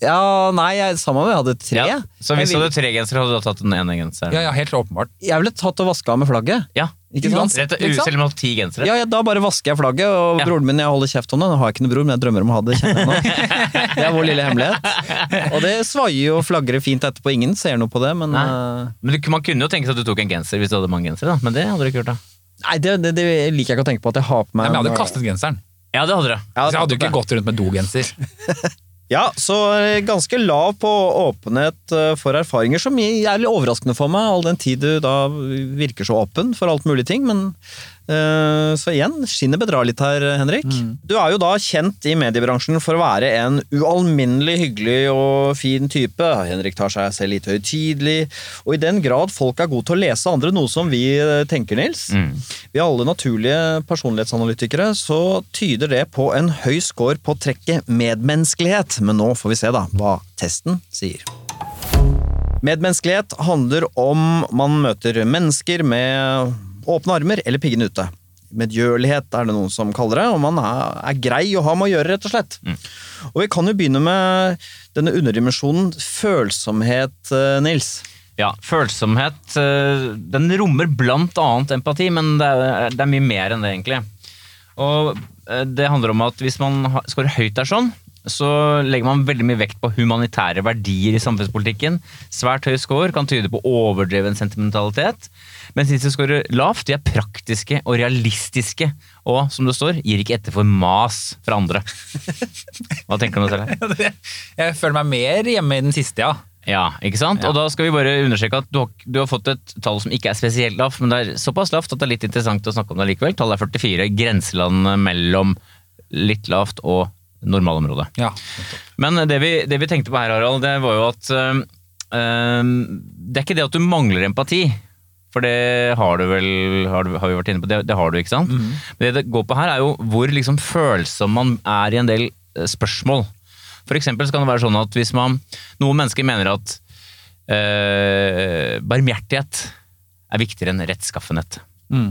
B: Ja, nei, jeg, sammen med jeg hadde tre.
D: Ja. Så hvis
B: jeg,
D: du
B: ville,
D: hadde tre gensere, hadde du tatt den ene genseren?
C: Ja, ja, helt åpenbart.
B: jeg ville tatt og vaska av med flagget.
D: Ja.
B: Ikke sant?
D: Rett,
C: Ikke sant?
D: selv om du hadde ti gensere?
B: Ja, ja, Da bare vasker jeg flagget, og
D: Ja.
B: broren min jeg holder kjeft om det. Nå har jeg ikke noen bror, men jeg drømmer om å ha det. kjenner jeg nå. Det er vår lille hemmelighet. Og det svaier jo og flagrer fint etterpå. Ingen ser noe på det, men
D: Nei.
B: eh,
D: Men du, Man kunne jo tenke seg at du tok en genser hvis du hadde mange gensere, da. men det hadde du ikke gjort. da.
B: Nei, det, det, det liker jeg ikke å tenke på at jeg har på meg
C: Nei, men jeg hadde jo kastet genseren.
D: Ja, det hadde du.
B: eh, Ja,
C: Så jeg hadde jo
B: det-
C: ikke gått rundt med dogenser.
B: Ja, så eh, ganske lav på åpenhet eh, for erfaringer, som er litt overraskende for meg, all den tid du da virker så åpen for alt mulig ting. Men eh, så igjen, skinnet bedrar litt her, Henrik. Du er jo da kjent i mediebransjen for å være en ualminnelig hyggelig og fin type. Henrik tar seg selv litt høytidelig, og i den grad folk er gode til å lese andre, noe som vi eh, tenker, Nils.
D: Mm.
B: Vi er alle naturlige personlighetsanalytikere, så tyder det på en høy score på trekket medmenneskelighet. Men nå får vi se da hva testen sier. Medmenneskelighet handler om man møter mennesker med åpne armer eller piggene ute. Medgjørlighet er det noen som kaller det, og man er, er grei å ha med å gjøre, rett og slett. Og vi kan jo begynne med denne underdimensjonen følsomhet, eh, Nils.
D: Ja, Følsomhet eh, den rommer blant annet empati, men det er, det er mye mer enn det, egentlig. Og eh, det handler om at Hvis man ha- scorer høyt der sånn, så legger man veldig mye vekt på humanitære verdier i samfunnspolitikken. Svært høy score kan tyde på overdreven sentimentalitet. Mens de som scorer lavt, de er praktiske og realistiske. Og som det står, gir ikke etter for mas fra andre. Hva tenker du om det selv? her?
C: Jeg føler meg mer hjemme i den siste, ja.
D: Ja, ikke sant? Og da skal vi bare understreke at du har, du har fått et tall som ikke er spesielt lavt, men det er såpass lavt at det er litt interessant å snakke om det likevel. Tallet er 44, grenselandet mellom litt lavt og normalområdet.
C: ja.
D: Men det vi, det vi tenkte på her, Harald, det var jo at øhm, øhm, Det er ikke det at du mangler empati, for det har du vel har, du, har vi vært inne på, det, det har du, ikke sant? Men det det går på her, er jo hvor liksom følsom man er i en del eh, spørsmål. For eksempel så kan det være sånn at hvis man Noen mennesker mener at eh, barmhjertighet er viktigere enn rettskaffenhet.
B: Mm.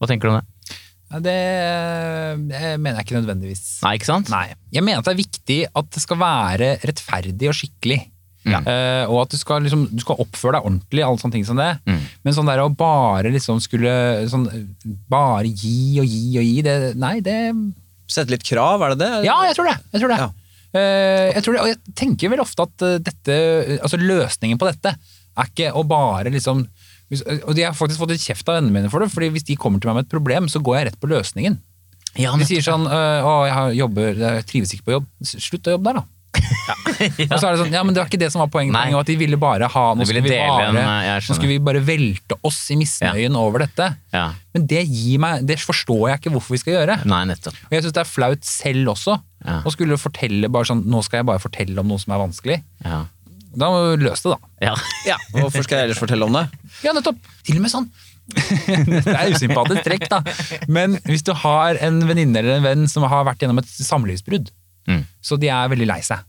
D: Hva tenker du om det?
C: Ja, Det, eh, det mener jeg ikke nødvendigvis.
D: Nei, ikke sant?
C: Nei. Jeg mener at det er viktig at det skal være rettferdig og skikkelig.
D: Ja.
C: Eh, og at du skal, liksom, du skal oppføre deg ordentlig, alle sånne ting som det.
D: Mm.
C: Men sånn der å bare liksom skulle sånn, Bare gi og gi og gi, det Nei, det
B: Sette litt krav, er det det?
C: Ja, jeg tror det. Jeg tror det.
B: Ja.
C: Eh, jeg tror det og jeg tenker vel ofte at eh, dette Altså løsningen på dette er ikke å bare liksom hvis, Og de har faktisk fått litt kjeft av vennene mine for det, fordi hvis de kommer til meg med et problem, så går jeg rett på løsningen.
D: Ja,
C: De sier sånn øh, Å, jeg har- jobber, jeg trives ikke på jobb. S- Slutt å jobbe der, da. Og så er det sånn, ja, men det var ikke det som var poenget.
D: Nei.
C: Poenget var at de ville bare ha Nå
D: De
C: skulle
D: ville
C: vi
D: dele
C: bare,
D: en, eh, jeg skjønner.
C: nå skulle vi bare velte oss i misnøyen over dette.
D: Ja.
C: Men det gir meg, det forstår jeg ikke hvorfor vi skal gjøre.
D: sånn. Nei, nettopp.
C: Og jeg syns det er flaut selv også.
D: Ja.
C: Å skulle fortelle bare sånn Nå skal jeg bare fortelle om noe som er vanskelig.
D: Ja.
C: Da må vi løse det, da.
D: ja.
B: Ja, Hvorfor skal jeg ellers fortelle om det?
C: Ja, nettopp. Til og med sånn. det er usympatisk trekk, da. Men hvis du har en venninne eller en venn som har vært gjennom et samlivsbrudd,
D: Mm.
C: så de er veldig lei seg.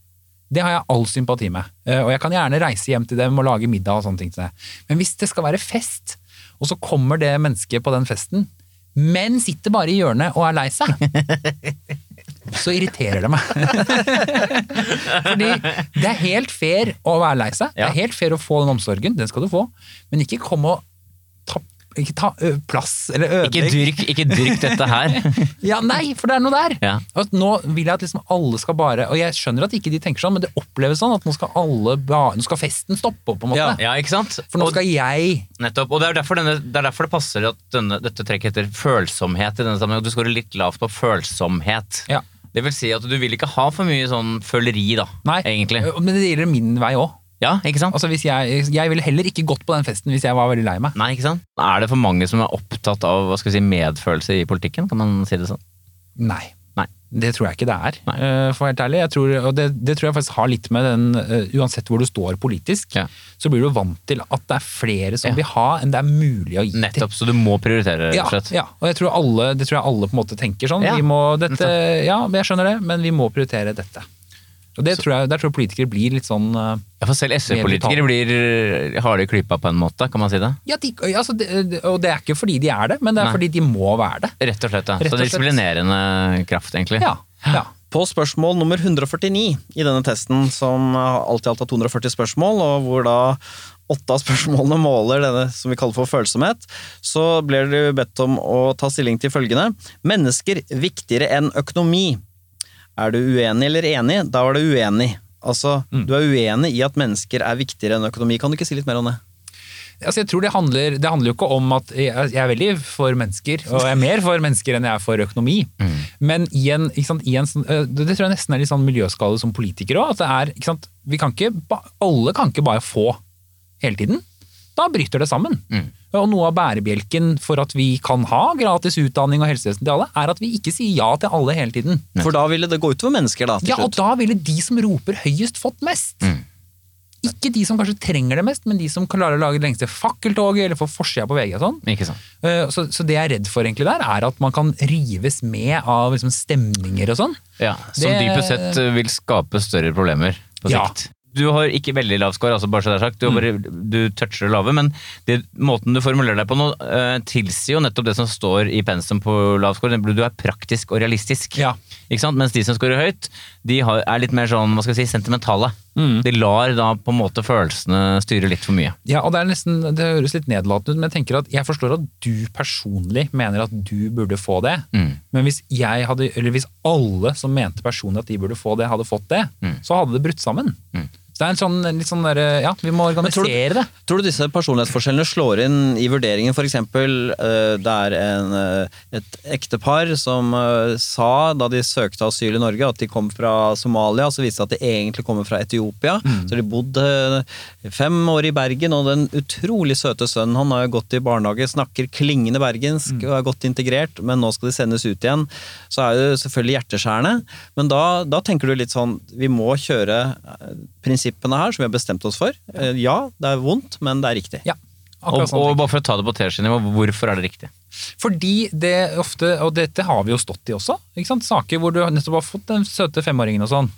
C: Det har jeg all sympati med. Eh, Og jeg kan gjerne reise hjem til dem og lage middag og sånne ting til deg. Men hvis det skal være fest, og så kommer det mennesket på den festen, men sitter bare i hjørnet og er lei seg, så irriterer det meg. Fordi det er helt fair å være lei seg. Det
D: Ja.
C: er helt fair å få den omsorgen, den skal du få. Men ikke kom og ta, ikke ta ø, plass eller
D: Ikke
C: ødelegg.
D: dyrk, ikke dyrk dette her.
C: Ja, nei, for det er noe der.
D: Ja.
C: At nå vil jeg at liksom alle skal bare Og jeg skjønner at ikke de tenker sånn, men det oppleves sånn at nå skal alle ba, Nå skal festen stoppe opp, på en måte.
D: Ja, ikke sant?
C: For nå
D: Og-
C: skal jeg
D: Nettopp, og Det er derfor, denne, det, er derfor det passer at denne, dette trekket heter følsomhet. i denne sammenhengen, at Du skårer litt lavt på følsomhet.
C: Ja.
D: Det vil si at du vil ikke ha for mye sånn føleri, da.
C: Nei.
D: Egentlig.
C: Ø, Men det gjelder min vei òg.
D: Ja, ikke sant?
C: Altså, hvis jeg, jeg ville heller ikke gått på den festen hvis jeg var veldig lei meg.
D: Nei, ikke sant? Er det for mange som er opptatt av hva skal vi si, medfølelse i politikken? Kan man si det sånn?
C: Nei.
D: Nei.
C: Det tror jeg ikke det er,
D: Nei.
C: eh, for å være helt ærlig. Jeg tror, og det, det tror jeg faktisk har litt med den eh, Uansett hvor du står politisk,
D: Ja.
C: så blir du vant til at det er flere som
D: Ja.
C: vil ha enn det er mulig å gi til.
D: Nettopp, så du må prioritere, rett
C: Ja,
D: og slett.
C: ja, og jeg tror alle, det tror jeg alle på en måte tenker sånn.
D: Ja,
C: Vi må dette, ja, men jeg skjønner det, men vi må prioritere dette. Og det tror jeg, Der tror jeg politikere blir litt sånn eh,
D: Ja, for selv SV-politikere blir eh, harde i klypa på en måte, kan man si det?
C: ja, de, altså, det- Og det er ikke fordi de er det, men det er
D: Nei.
C: fordi de må være det.
D: Rett og slett, ja.
C: Rett
D: Så
C: og
D: det er
C: slett.
D: disiplinerende kraft, egentlig.
C: Ja, ja.
B: På spørsmål nummer 149 i denne testen, som alltid alt har 240 spørsmål, og hvor da åtte av spørsmålene måler denne som vi kaller for følsomhet, så blir du bedt om å ta stilling til følgende. Mennesker viktigere enn økonomi. Er du uenig eller enig? Da var du uenig. Altså,
C: Mm.
B: du er uenig i at mennesker er viktigere enn økonomi. Kan du ikke si litt mer om det?
C: Altså, jeg tror det handler, det handler jo ikke om at jeg, altså, jeg er veldig for mennesker, og jeg er mer for mennesker enn jeg er for økonomi. Men i en, ikke sant, i en sånn, øh, det det tror jeg nesten er litt sånn miljøskade som politiker òg. At det er, ikke sant, vi kan ikke, ba- alle kan ikke bare få hele tiden. Da bryter det sammen.
D: Mm.
C: Og noe av bærebjelken for at vi kan ha gratis utdanning og helsevesen til alle, er at vi ikke sier ja til alle hele tiden.
B: For da ville det gå utover mennesker, da, til
C: Ja, og
B: slutt.
C: da ville de som roper høyest fått mest.
D: Mm.
C: Ikke de som kanskje trenger det mest, men de som klarer å lage det lengste fakkeltoget eller få forsida på VG og sånn.
D: Ikke sant?
C: Eh, Så, så det jeg er redd for egentlig der, er at man kan rives med av liksom stemninger og sånn.
D: Ja, Som
C: Det-
D: dypest sett eh, vil skape større problemer på
C: Ja. Mm.
D: sikt. Du har ikke veldig lav score, altså bare så det er sagt. Du, har bare, du toucher det lave, men det, måten du formulerer deg på nå, eh, tilsier jo nettopp det som står i pensum på lav score. nemlig Du er praktisk og realistisk.
C: Ja.
D: Ikke sant? Mens de som scorer høyt, de har, er litt mer sånn, hva skal jeg si, sentimentale.
C: Mm.
D: De lar da på en måte følelsene styre litt for mye.
C: Ja, og det, er nesten, det høres litt nedlatende ut, men jeg tenker at jeg forstår at du personlig mener at du burde få det.
D: Mm.
C: Men hvis, jeg hadde, eller hvis alle som mente personlig at de burde få det, hadde fått det,
D: Mm.
C: så hadde det brutt sammen.
D: Mm.
C: Så det er en sånn, litt sånn der, ja, vi må
B: tror du-
C: organisere det.
B: Tror du disse personlighetsforskjellene slår inn i vurderingen? For eksempel, eh, det er en, eh, et ektepar som eh, sa da de søkte asyl i Norge at de kom fra Somalia, så viste det at de egentlig kommer fra Etiopia. Så de bodde eh, fem år i Bergen, og den utrolig søte sønnen han har jo gått i barnehage, snakker klingende bergensk og er godt integrert, men nå skal de sendes ut igjen. Så er det selvfølgelig hjerteskjærende, men da, da tenker du litt sånn vi må kjøre eh, prinsippene her som vi har bestemt oss for. Eh, Ja, det er vondt, men det er riktig.
C: Ja,
D: Og,
C: akkurat sånn.
D: og bare for å ta det på T-skinnet, hvorfor er det riktig?
C: Fordi det ofte, og dette har vi jo stått i også, ikke sant? saker hvor du nettopp har fått den søte femåringen og sånn,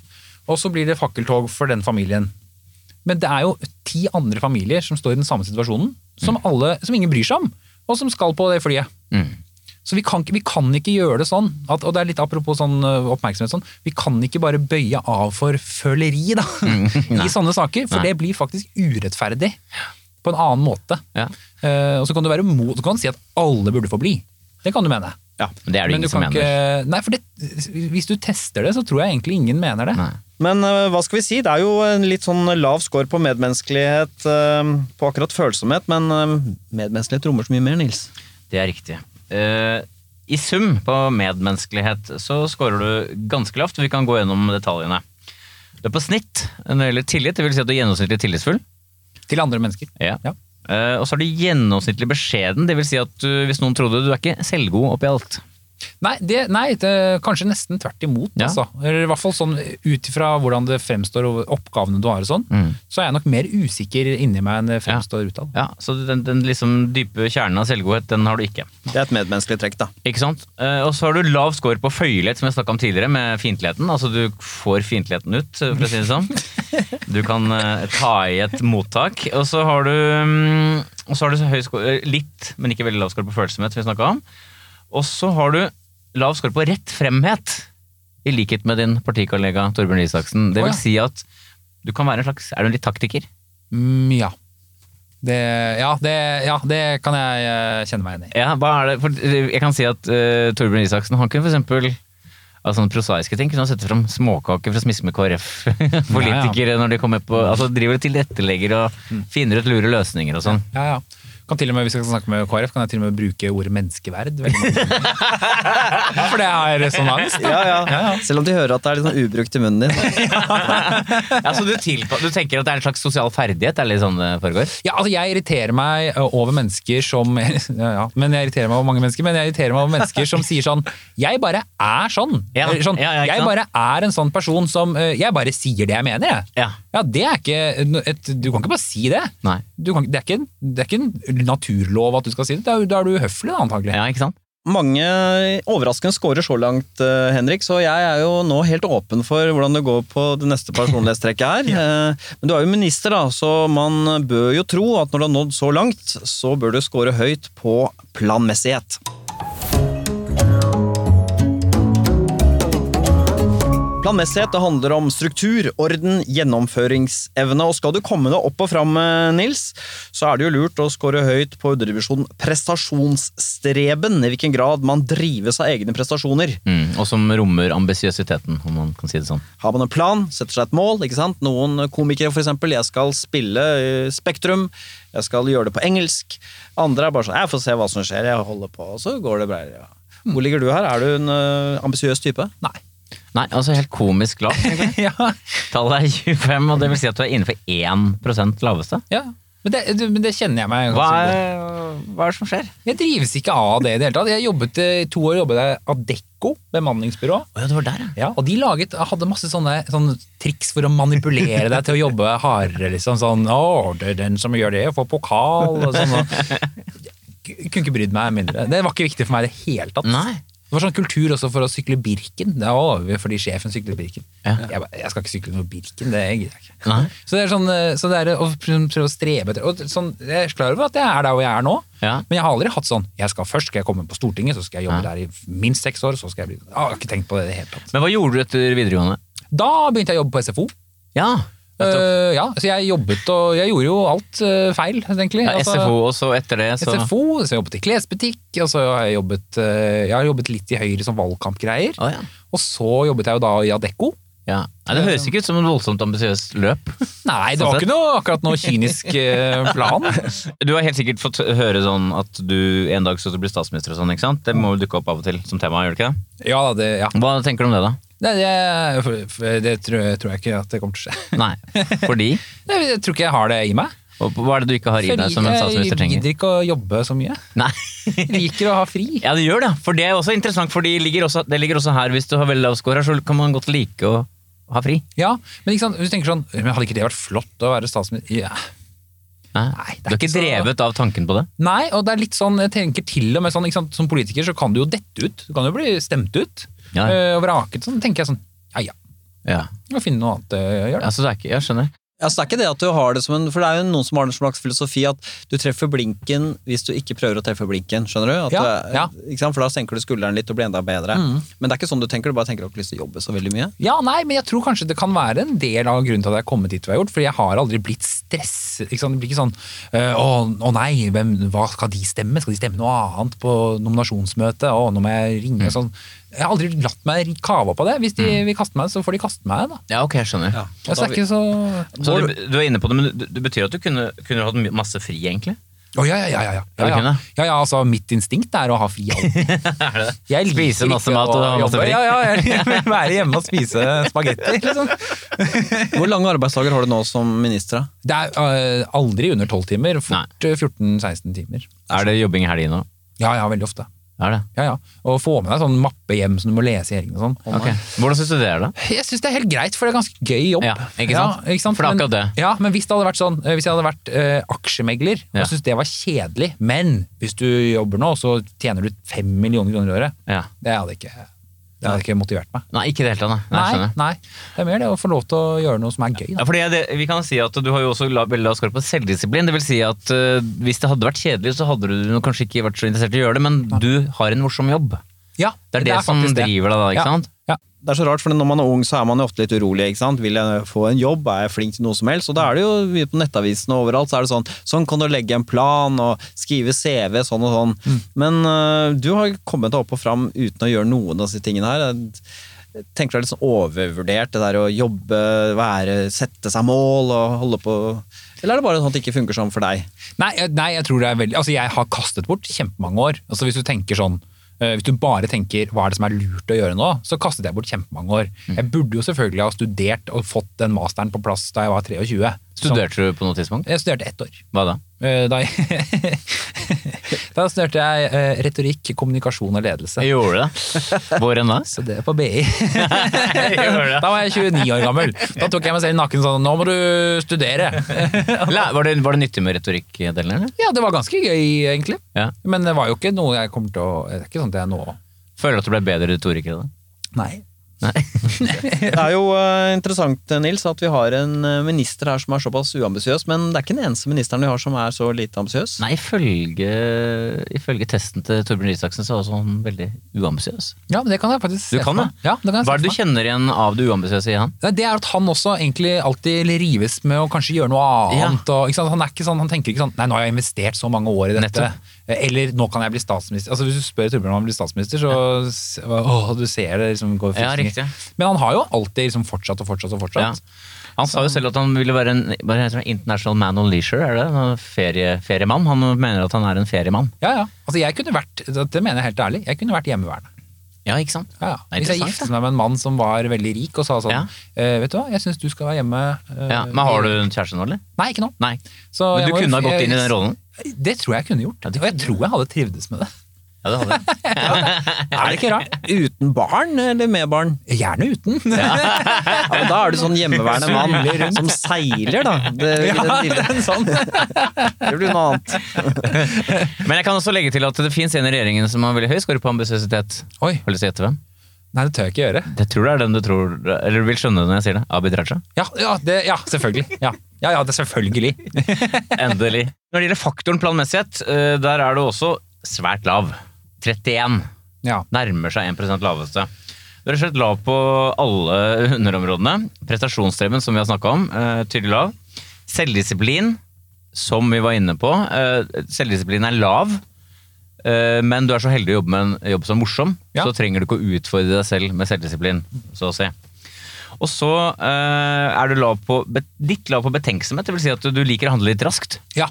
C: og så blir det fakkeltog for den familien. Men det er jo ti andre familier som står i den samme situasjonen, som, alle, som ingen bryr seg om, og som skal på det flyet.
D: Mm.
C: Så vi kan, ikke- vi kan ikke gjøre det sånn, at, og det er litt apropos sånn ø, oppmerksomhet sånn, vi kan ikke bare bøye av for føleri da, i sånne saker, for
D: Mm. Nei.
C: det blir faktisk urettferdig på en annen måte.
D: Ja.
C: Eh, og så kan du være mot, du kan si at alle burde få bli. Det kan du mene.
B: Ja.
D: Men det er det
C: Men du
D: ingen som
C: kan
D: mener.
C: ikke, nei, for det, hvis du tester det, så tror jeg egentlig ingen mener det.
D: Nei.
B: Men eh, hva skal vi si? Det er jo en litt sånn lav score på medmenneskelighet, eh, på akkurat følsomhet, men eh, medmenneskelighet rommer så mye mer, Nils.
D: Det er riktig. Eh, I sum på medmenneskelighet så scorer du ganske lavt. Vi kan gå gjennom detaljene. Du er på snitt når det gjelder tillit. Det vil si at du er gjennomsnittlig tillitsfull.
C: Til andre mennesker. Ja.
D: Eh, og så er du gjennomsnittlig beskjeden. Det vil si at du, hvis noen trodde du er ikke selvgod oppi alt.
C: Nei, det, nei det, kanskje nesten tvert imot.
D: Ja.
C: Altså. Eller i hvert fall sånn ut ifra hvordan det fremstår og oppgavene du har og sånn,
D: Mm.
C: så er jeg nok mer usikker inni meg enn det fremstår utad.
D: Ja, Så den, den liksom dype kjernen av selvgodhet, den har du ikke.
B: Det er et medmenneskelig trekk, da.
D: Ikke sant? Eh, Og så har du lav score på føyelighet, som jeg snakka om tidligere, med fiendtligheten. Altså du får fiendtligheten ut, for å si det sånn. Du kan eh, ta i et mottak. Og så har du, mm, og så har du så høy score, eh, litt, men ikke veldig lav score på følsomhet, som vi snakka om. Og så har du lav score på rett fremhet, i likhet med din partikollega Torbjørn Røe Isaksen. Det
C: Å, ja.
D: vil si at du kan være en slags Er du en litt taktiker?
C: Mm, ja. Det, ja, det, ja, det kan jeg eh, kjenne meg igjen i.
D: Ja, hva er det? For eh, jeg kan si at eh, Torbjørn Isaksen han kunne for eksempel av sånne prosaiske ting kunne han sette fram småkaker for å smiske med KrF-politikere når de kommer på Altså driver og tilrettelegger og finner ut lure løsninger og sånn.
C: Ja, ja. Kan til og med, hvis jeg skal snakke med KrF, kan jeg til og med bruke ordet menneskeverd. veldig mange ganger. ja, for det er sånn det er. visst.
B: Ja, ja. Selv om de hører at det er litt sånn ubrukt i munnen din.
D: Ja, så Altså, du, tilpa- du tenker at det er en slags sosial ferdighet? Er det litt sånn det foregår?
C: Ja, altså Jeg irriterer meg ø, over mennesker som ja, ja, men Jeg irriterer meg over mange mennesker, men jeg irriterer meg over mennesker som sier sånn Jeg bare er sånn.
D: Ja,
C: Eller sånn
D: ja, ja, ikke
C: jeg
D: sant?
C: bare er en sånn person som ø, Jeg bare sier det jeg mener, jeg.
D: Ja.
C: Ja, det er ikke no- et, Du kan ikke bare si det.
D: Nei.
C: Du kan, ikke- det, er ikke, en- det er ikke en naturlov at du skal si det. Da er du- Da er du uhøflig, da, antagelig.
D: Ja, ikke sant?
B: Mange overraskende scorer så langt, eh, Henrik, så jeg er jo nå helt åpen for hvordan det går på det neste personlighetstrekket her. Eh, Men du er jo minister, da, så man bør jo tro at når du har nådd så langt, så bør du score høyt på planmessighet. Planmessighet det handler om struktur, orden, gjennomføringsevne. Og skal du komme deg opp og fram, eh, Nils, så er det jo lurt å score høyt på underdivisjon prestasjonsstreben. I hvilken grad man drives av egne prestasjoner.
D: Mm. Og som rommer ambisiøsiteten, om man kan si det sånn.
B: Har man en plan, setter seg et mål. ikke sant? Noen komikere, for eksempel. Jeg skal spille eh, Spektrum. Jeg skal gjøre det på engelsk. Andre er bare sånn Jeg får se hva som skjer. Jeg holder på, og så går det bra. Ja. Hvor ligger du her? Er du en eh, ambisiøs type?
C: Nei.
D: Nei, altså helt komisk lavt. egentlig.
C: ja.
D: Tallet er 25, og det vil si at du er innenfor 1 laveste.
C: ja. Men, det, du- men det kjenner jeg meg
D: Hva
C: godt.
D: er, hva er det som skjer?
C: Jeg drives ikke av det i det hele tatt. Jeg jobbet eh, to år jobbet jeg Adecco, bemanningsbyrå.
D: Å ja, det var der, ja.
C: Ja, og de laget, hadde masse sånne, sånne triks for å manipulere deg til å jobbe hardere. Liksom. Sånn 'Å, det er den som gjør det, får pokal' og sånn. og- Jeg Kunne ikke brydd meg mindre. Det var ikke viktig for meg i det hele tatt.
D: Nei.
C: Det var sånn kultur også for å sykle Birken. Det var fordi sjefen syklet Birken.
D: Ja.
C: Jeg, ba- jeg skal ikke sykle noe Birken, det gidder jeg ikke.
D: Nei.
C: Så det er sånn, eh, så det er å pr- prøve å strebe etter og sånn, Jeg er klar over at jeg er der hvor jeg er nå,
D: Ja.
C: men jeg har aldri hatt sånn jeg skal Først skal jeg komme på Stortinget, så skal jeg jobbe
D: Ja.
C: der i minst seks år, så skal jeg bli Jeg har ikke tenkt på det i det hele tatt.
D: Men hva gjorde du etter videregående?
C: Da begynte jeg å jobbe på SFO.
D: Ja, nettopp.
C: Eh, ja, så jeg jobbet og jeg gjorde jo alt eh, feil, egentlig.
D: ja
C: Altså,
D: SFO, og så etter det så
C: SFO, så jeg jobbet i klesbutikk, og så har jeg jobbet, eh, jeg har jobbet litt i Høyre som valgkampgreier.
D: Å, ja.
C: Og så jobbet jeg jo da i Adecco.
D: Ja. Nei, det høres ikke ut som et voldsomt ambisiøst løp.
C: Nei, det var
D: Sånn sett.
C: ikke noe, akkurat noe kynisk eh, plan.
D: Du har helt sikkert fått høre sånn at du en dag skal bli statsminister og sånn, ikke sant? Det må jo dukke opp av og til som tema, gjør det ikke det?
C: Ja, det, ja.
D: Hva tenker du om det, da?
C: Nei, det, for- for- det tror, jeg, tror jeg ikke at det kommer til å skje.
D: Nei, fordi?
C: Nei, Jeg tror ikke jeg har det i meg.
D: Og hva er det du ikke har i deg som en
C: eh, jeg
D: statsminister trenger?
C: gidder ikke å jobbe så mye.
D: Nei.
C: Jeg liker å ha fri.
D: Ja, det gjør det. For det er også interessant, for det ligger også, det ligger også her. Hvis du har veldig lav score her, så kan man godt like å ha fri.
C: Ja, men ikke sant, hvis du tenker sånn, men hadde ikke det vært flott å være statsminister? Ja.
D: Nei,
C: det er
D: Du er
C: ikke
D: ikke
C: så-
D: drevet av tanken på det?
C: Nei, og det er litt sånn, jeg tenker til og med sånn, ikke sant, som politiker så kan du jo dette ut, du kan jo bli stemt ut,
D: Ja.
C: øh, og vraket, sånn tenker jeg sånn, ja ja,
D: Ja.
C: jeg må finne noe annet øh, å gjøre.
D: Altså, det er ikke, jeg skjønner.
B: Ja, så det er ikke det at du har det som en For det er jo noen som har en slags filosofi at du treffer blinken hvis du ikke prøver å treffe blinken. skjønner du? At
C: Ja,
B: det er-
C: ja.
B: Ikke sant? For da senker du skulderen litt og blir enda bedre. Men det er ikke sånn du tenker, du bare tenker at du har ikke lyst til å jobbe så veldig mye.
C: Ja, nei, men jeg tror kanskje det kan være en del av grunnen til at jeg har kommet dit hvor jeg har gjort, fordi jeg har aldri blitt stresset, ikke sant, det blir ikke sånn, øh, å, å nei, hvem, hva skal de stemme, skal de stemme noe annet på nominasjonsmøtet, å, nå må jeg ringe,
D: Mm.
C: sånn. Jeg har aldri latt meg kave på det, hvis de vil kaste meg, så får de kaste meg da.
D: Ja, ok, jeg skjønner.
B: Og da
C: Altså, det er
B: vil-
C: ikke så...
D: Så du, du er inne på det, men det det betyr at du kunne, kunne hatt my- masse fri, egentlig?
C: Å, ja, ja, ja, ja, ja.
D: Ja,
C: Ja,
D: du
C: ja.
D: kunne.
C: ja, ja, altså mitt instinkt er å ha fri alltid. Jeg liker
D: Spise masse
C: ikke
D: mat
C: å
D: og ha masse
C: jobbe.
D: fri.
C: Ja, ja, jeg vil være hjemme og spise spagetti. Liksom.
B: Hvor lange arbeidsdager har du nå som minister? da?
C: Det er øh, aldri under 12 timer, fort øh, 14-16 timer.
D: Er det jobbing i helgene òg?
C: Ja, ja, veldig ofte.
D: Er det?
C: Ja, ja. Og få med deg sånn mappe hjem som du må lese i helgen og sånn.
D: Ok. Hvordan syns du det er, da?
C: Jeg syns det er helt greit, for det er ganske gøy jobb.
D: Ja, ikke sant? For det er
C: Men-
D: akkurat det.
C: Ja, men hvis det hadde vært sånn, eh, hvis jeg hadde vært eh, aksjemegler,
D: Ja.
C: og syntes det var kjedelig, men hvis du jobber nå, så tjener du fem millioner kroner i året,
D: Ja.
C: det hadde ikke, det hadde ikke motivert meg.
D: Nei, ikke i det hele tatt. Nei, Nei,
C: Nei,
D: skjønner.
C: nei, det er mer det å få lov til å gjøre noe som er gøy. Da.
D: Ja, fordi det, vi kan si at Du har jo også la, veldig lav skår på selvdisiplin. Det vil si at eh, Hvis det hadde vært kjedelig, så hadde du nok kanskje ikke vært så interessert i å gjøre det, men du har en morsom jobb.
C: Ja,
D: Det er det, som
C: faktisk det.
D: driver deg da, ikke
C: Ja.
D: sant?
B: Det er så rart, for når man er ung, så er man jo ofte litt urolig. ikke sant? Vil jeg få en jobb? Er jeg flink til noe som helst? Og da er det jo mye på nettavisene og overalt, så er det sånn Sånn kan du legge en plan og skrive CV, sånn og sånn. Men øh, du har kommet deg opp og fram uten å gjøre noen av disse tingene her. Jeg tenker det er litt sånn overvurdert, det der å jobbe, være, sette seg mål og holde på Eller er det bare sånn at det ikke funker sånn for deg?
C: Nei, jeg- nei, jeg tror det er veldig Altså, jeg har kastet bort kjempemange år. Altså, hvis du tenker sånn eh, hvis du bare tenker hva er det som er lurt å gjøre nå, så kastet jeg bort kjempemange år. Jeg burde jo selvfølgelig ha studert og fått den masteren på plass da jeg var 23.
D: Studerte du på noe
C: Så-
D: tidspunkt?
C: Jeg studerte ett år.
D: Hva da?
C: Eh, Da, da studerte jeg eh, retorikk, kommunikasjon og ledelse.
D: Jeg gjorde det. Hvor enn da?
C: Så det er på BI.
D: gjorde det.
C: da var jeg 29 år gammel. Da tok jeg meg selv i nakken sånn Nå må du studere!
D: La- Var det, var det nyttig med retorikkdelen, eller?
C: Ja, det var ganske gøy, egentlig.
D: Ja.
C: Men det var jo ikke noe jeg kommer til å Det er ikke sånn at jeg nå
D: Føler du at du ble bedre retoriker i det?
C: Nei.
D: Nei.
B: Det er jo eh, interessant Nils, at vi har en eh, minister her som er såpass uambisiøs, men det er ikke den eneste ministeren vi har som er så lite ambisiøs.
D: Nei, ifølge, ifølge testen til Torbjørn Røe Isaksen så var han veldig uambisiøs.
C: Ja, men det kan jeg faktisk
D: Du
C: se
D: kan
C: for meg.
D: det?
C: Ja, det kan jeg se
D: Hva er
C: for
D: det du kjenner igjen av det uambisiøse i han?
C: Nei, Det er at han også egentlig alltid rives med å kanskje gjøre noe annet. Og, ikke sant? Han, er ikke sånn, han tenker ikke sånn Nei, nå har jeg investert så mange år i dette.
D: Nettopp.
C: Eller nå kan jeg bli statsminister. Altså Hvis du spør Torbjørn om han blir statsminister, så s- Åh, du ser det liksom går
D: Ja,
C: frysninger.
D: riktig.
C: Men han har jo alltid liksom fortsatt og fortsatt og fortsatt.
D: Ja. Han sa jo selv at han ville være en hva heter det, international man on leisure, er det? En Ferie, feriemann. Han mener at han er en feriemann.
C: Ja, ja. Altså jeg kunne vært, Det mener jeg helt ærlig, jeg kunne vært hjemmeværende.
D: Ja, ikke sant?
C: Ja, ja.
D: Det er
C: Hvis jeg
D: interessant,
C: giftet meg med en mann som var veldig rik og sa sånn
D: Ja.
C: eh, Vet du hva, jeg syns du skal være hjemme eh,
D: Ja, men har du en kjæreste nå, eller?
C: Nei, ikke nå.
D: Nei.
C: Så
D: Men
C: jeg
D: du
C: må jo-
D: kunne ha gått inn i den rollen?
C: Det tror jeg jeg kunne gjort. og jeg tror jeg hadde trivdes med det.
D: Ja, det hadde jeg.
C: Er det ikke rart?
B: Uten barn eller med barn?
C: Gjerne uten.
B: Ja, men da er du sånn hjemmeværende
C: Seiler
B: mann
C: rundt.
B: som seiler, da. Det, det, det,
C: sånn.
B: det blir noe annet.
D: Men jeg kan også legge til at det fins en i regjeringen som har veldig høy score på ambisiøsitet.
C: Oi,
D: Har du lyst til å gjette hvem?
C: nei det tør jeg ikke gjøre.
D: Det tror jeg er den du tror Eller du vil skjønne det når jeg sier det. Abid Raja.
C: Ja, ja, det, ja selvfølgelig. Ja. ja, ja, det er selvfølgelig.
D: Endelig. Når det gjelder faktoren planmessighet, eh, der er det også svært lav. 31.
C: Ja.
D: nærmer seg 1 laveste. Det er rett og slett lav på alle underområdene. Prestasjonsstreben, som vi har snakka om, eh, tydelig lav. Selvdisiplin, som vi var inne på. Eh, selvdisiplin er lav, eh, men du er så heldig å jobbe med en jobb som er morsom,
C: Ja.
D: så trenger du ikke å utfordre deg selv med selvdisiplin, så å si. Og så eh, er du lav på, be- litt lav på betenksomhet, det vil Si at du, du liker å handle litt raskt.
C: ja.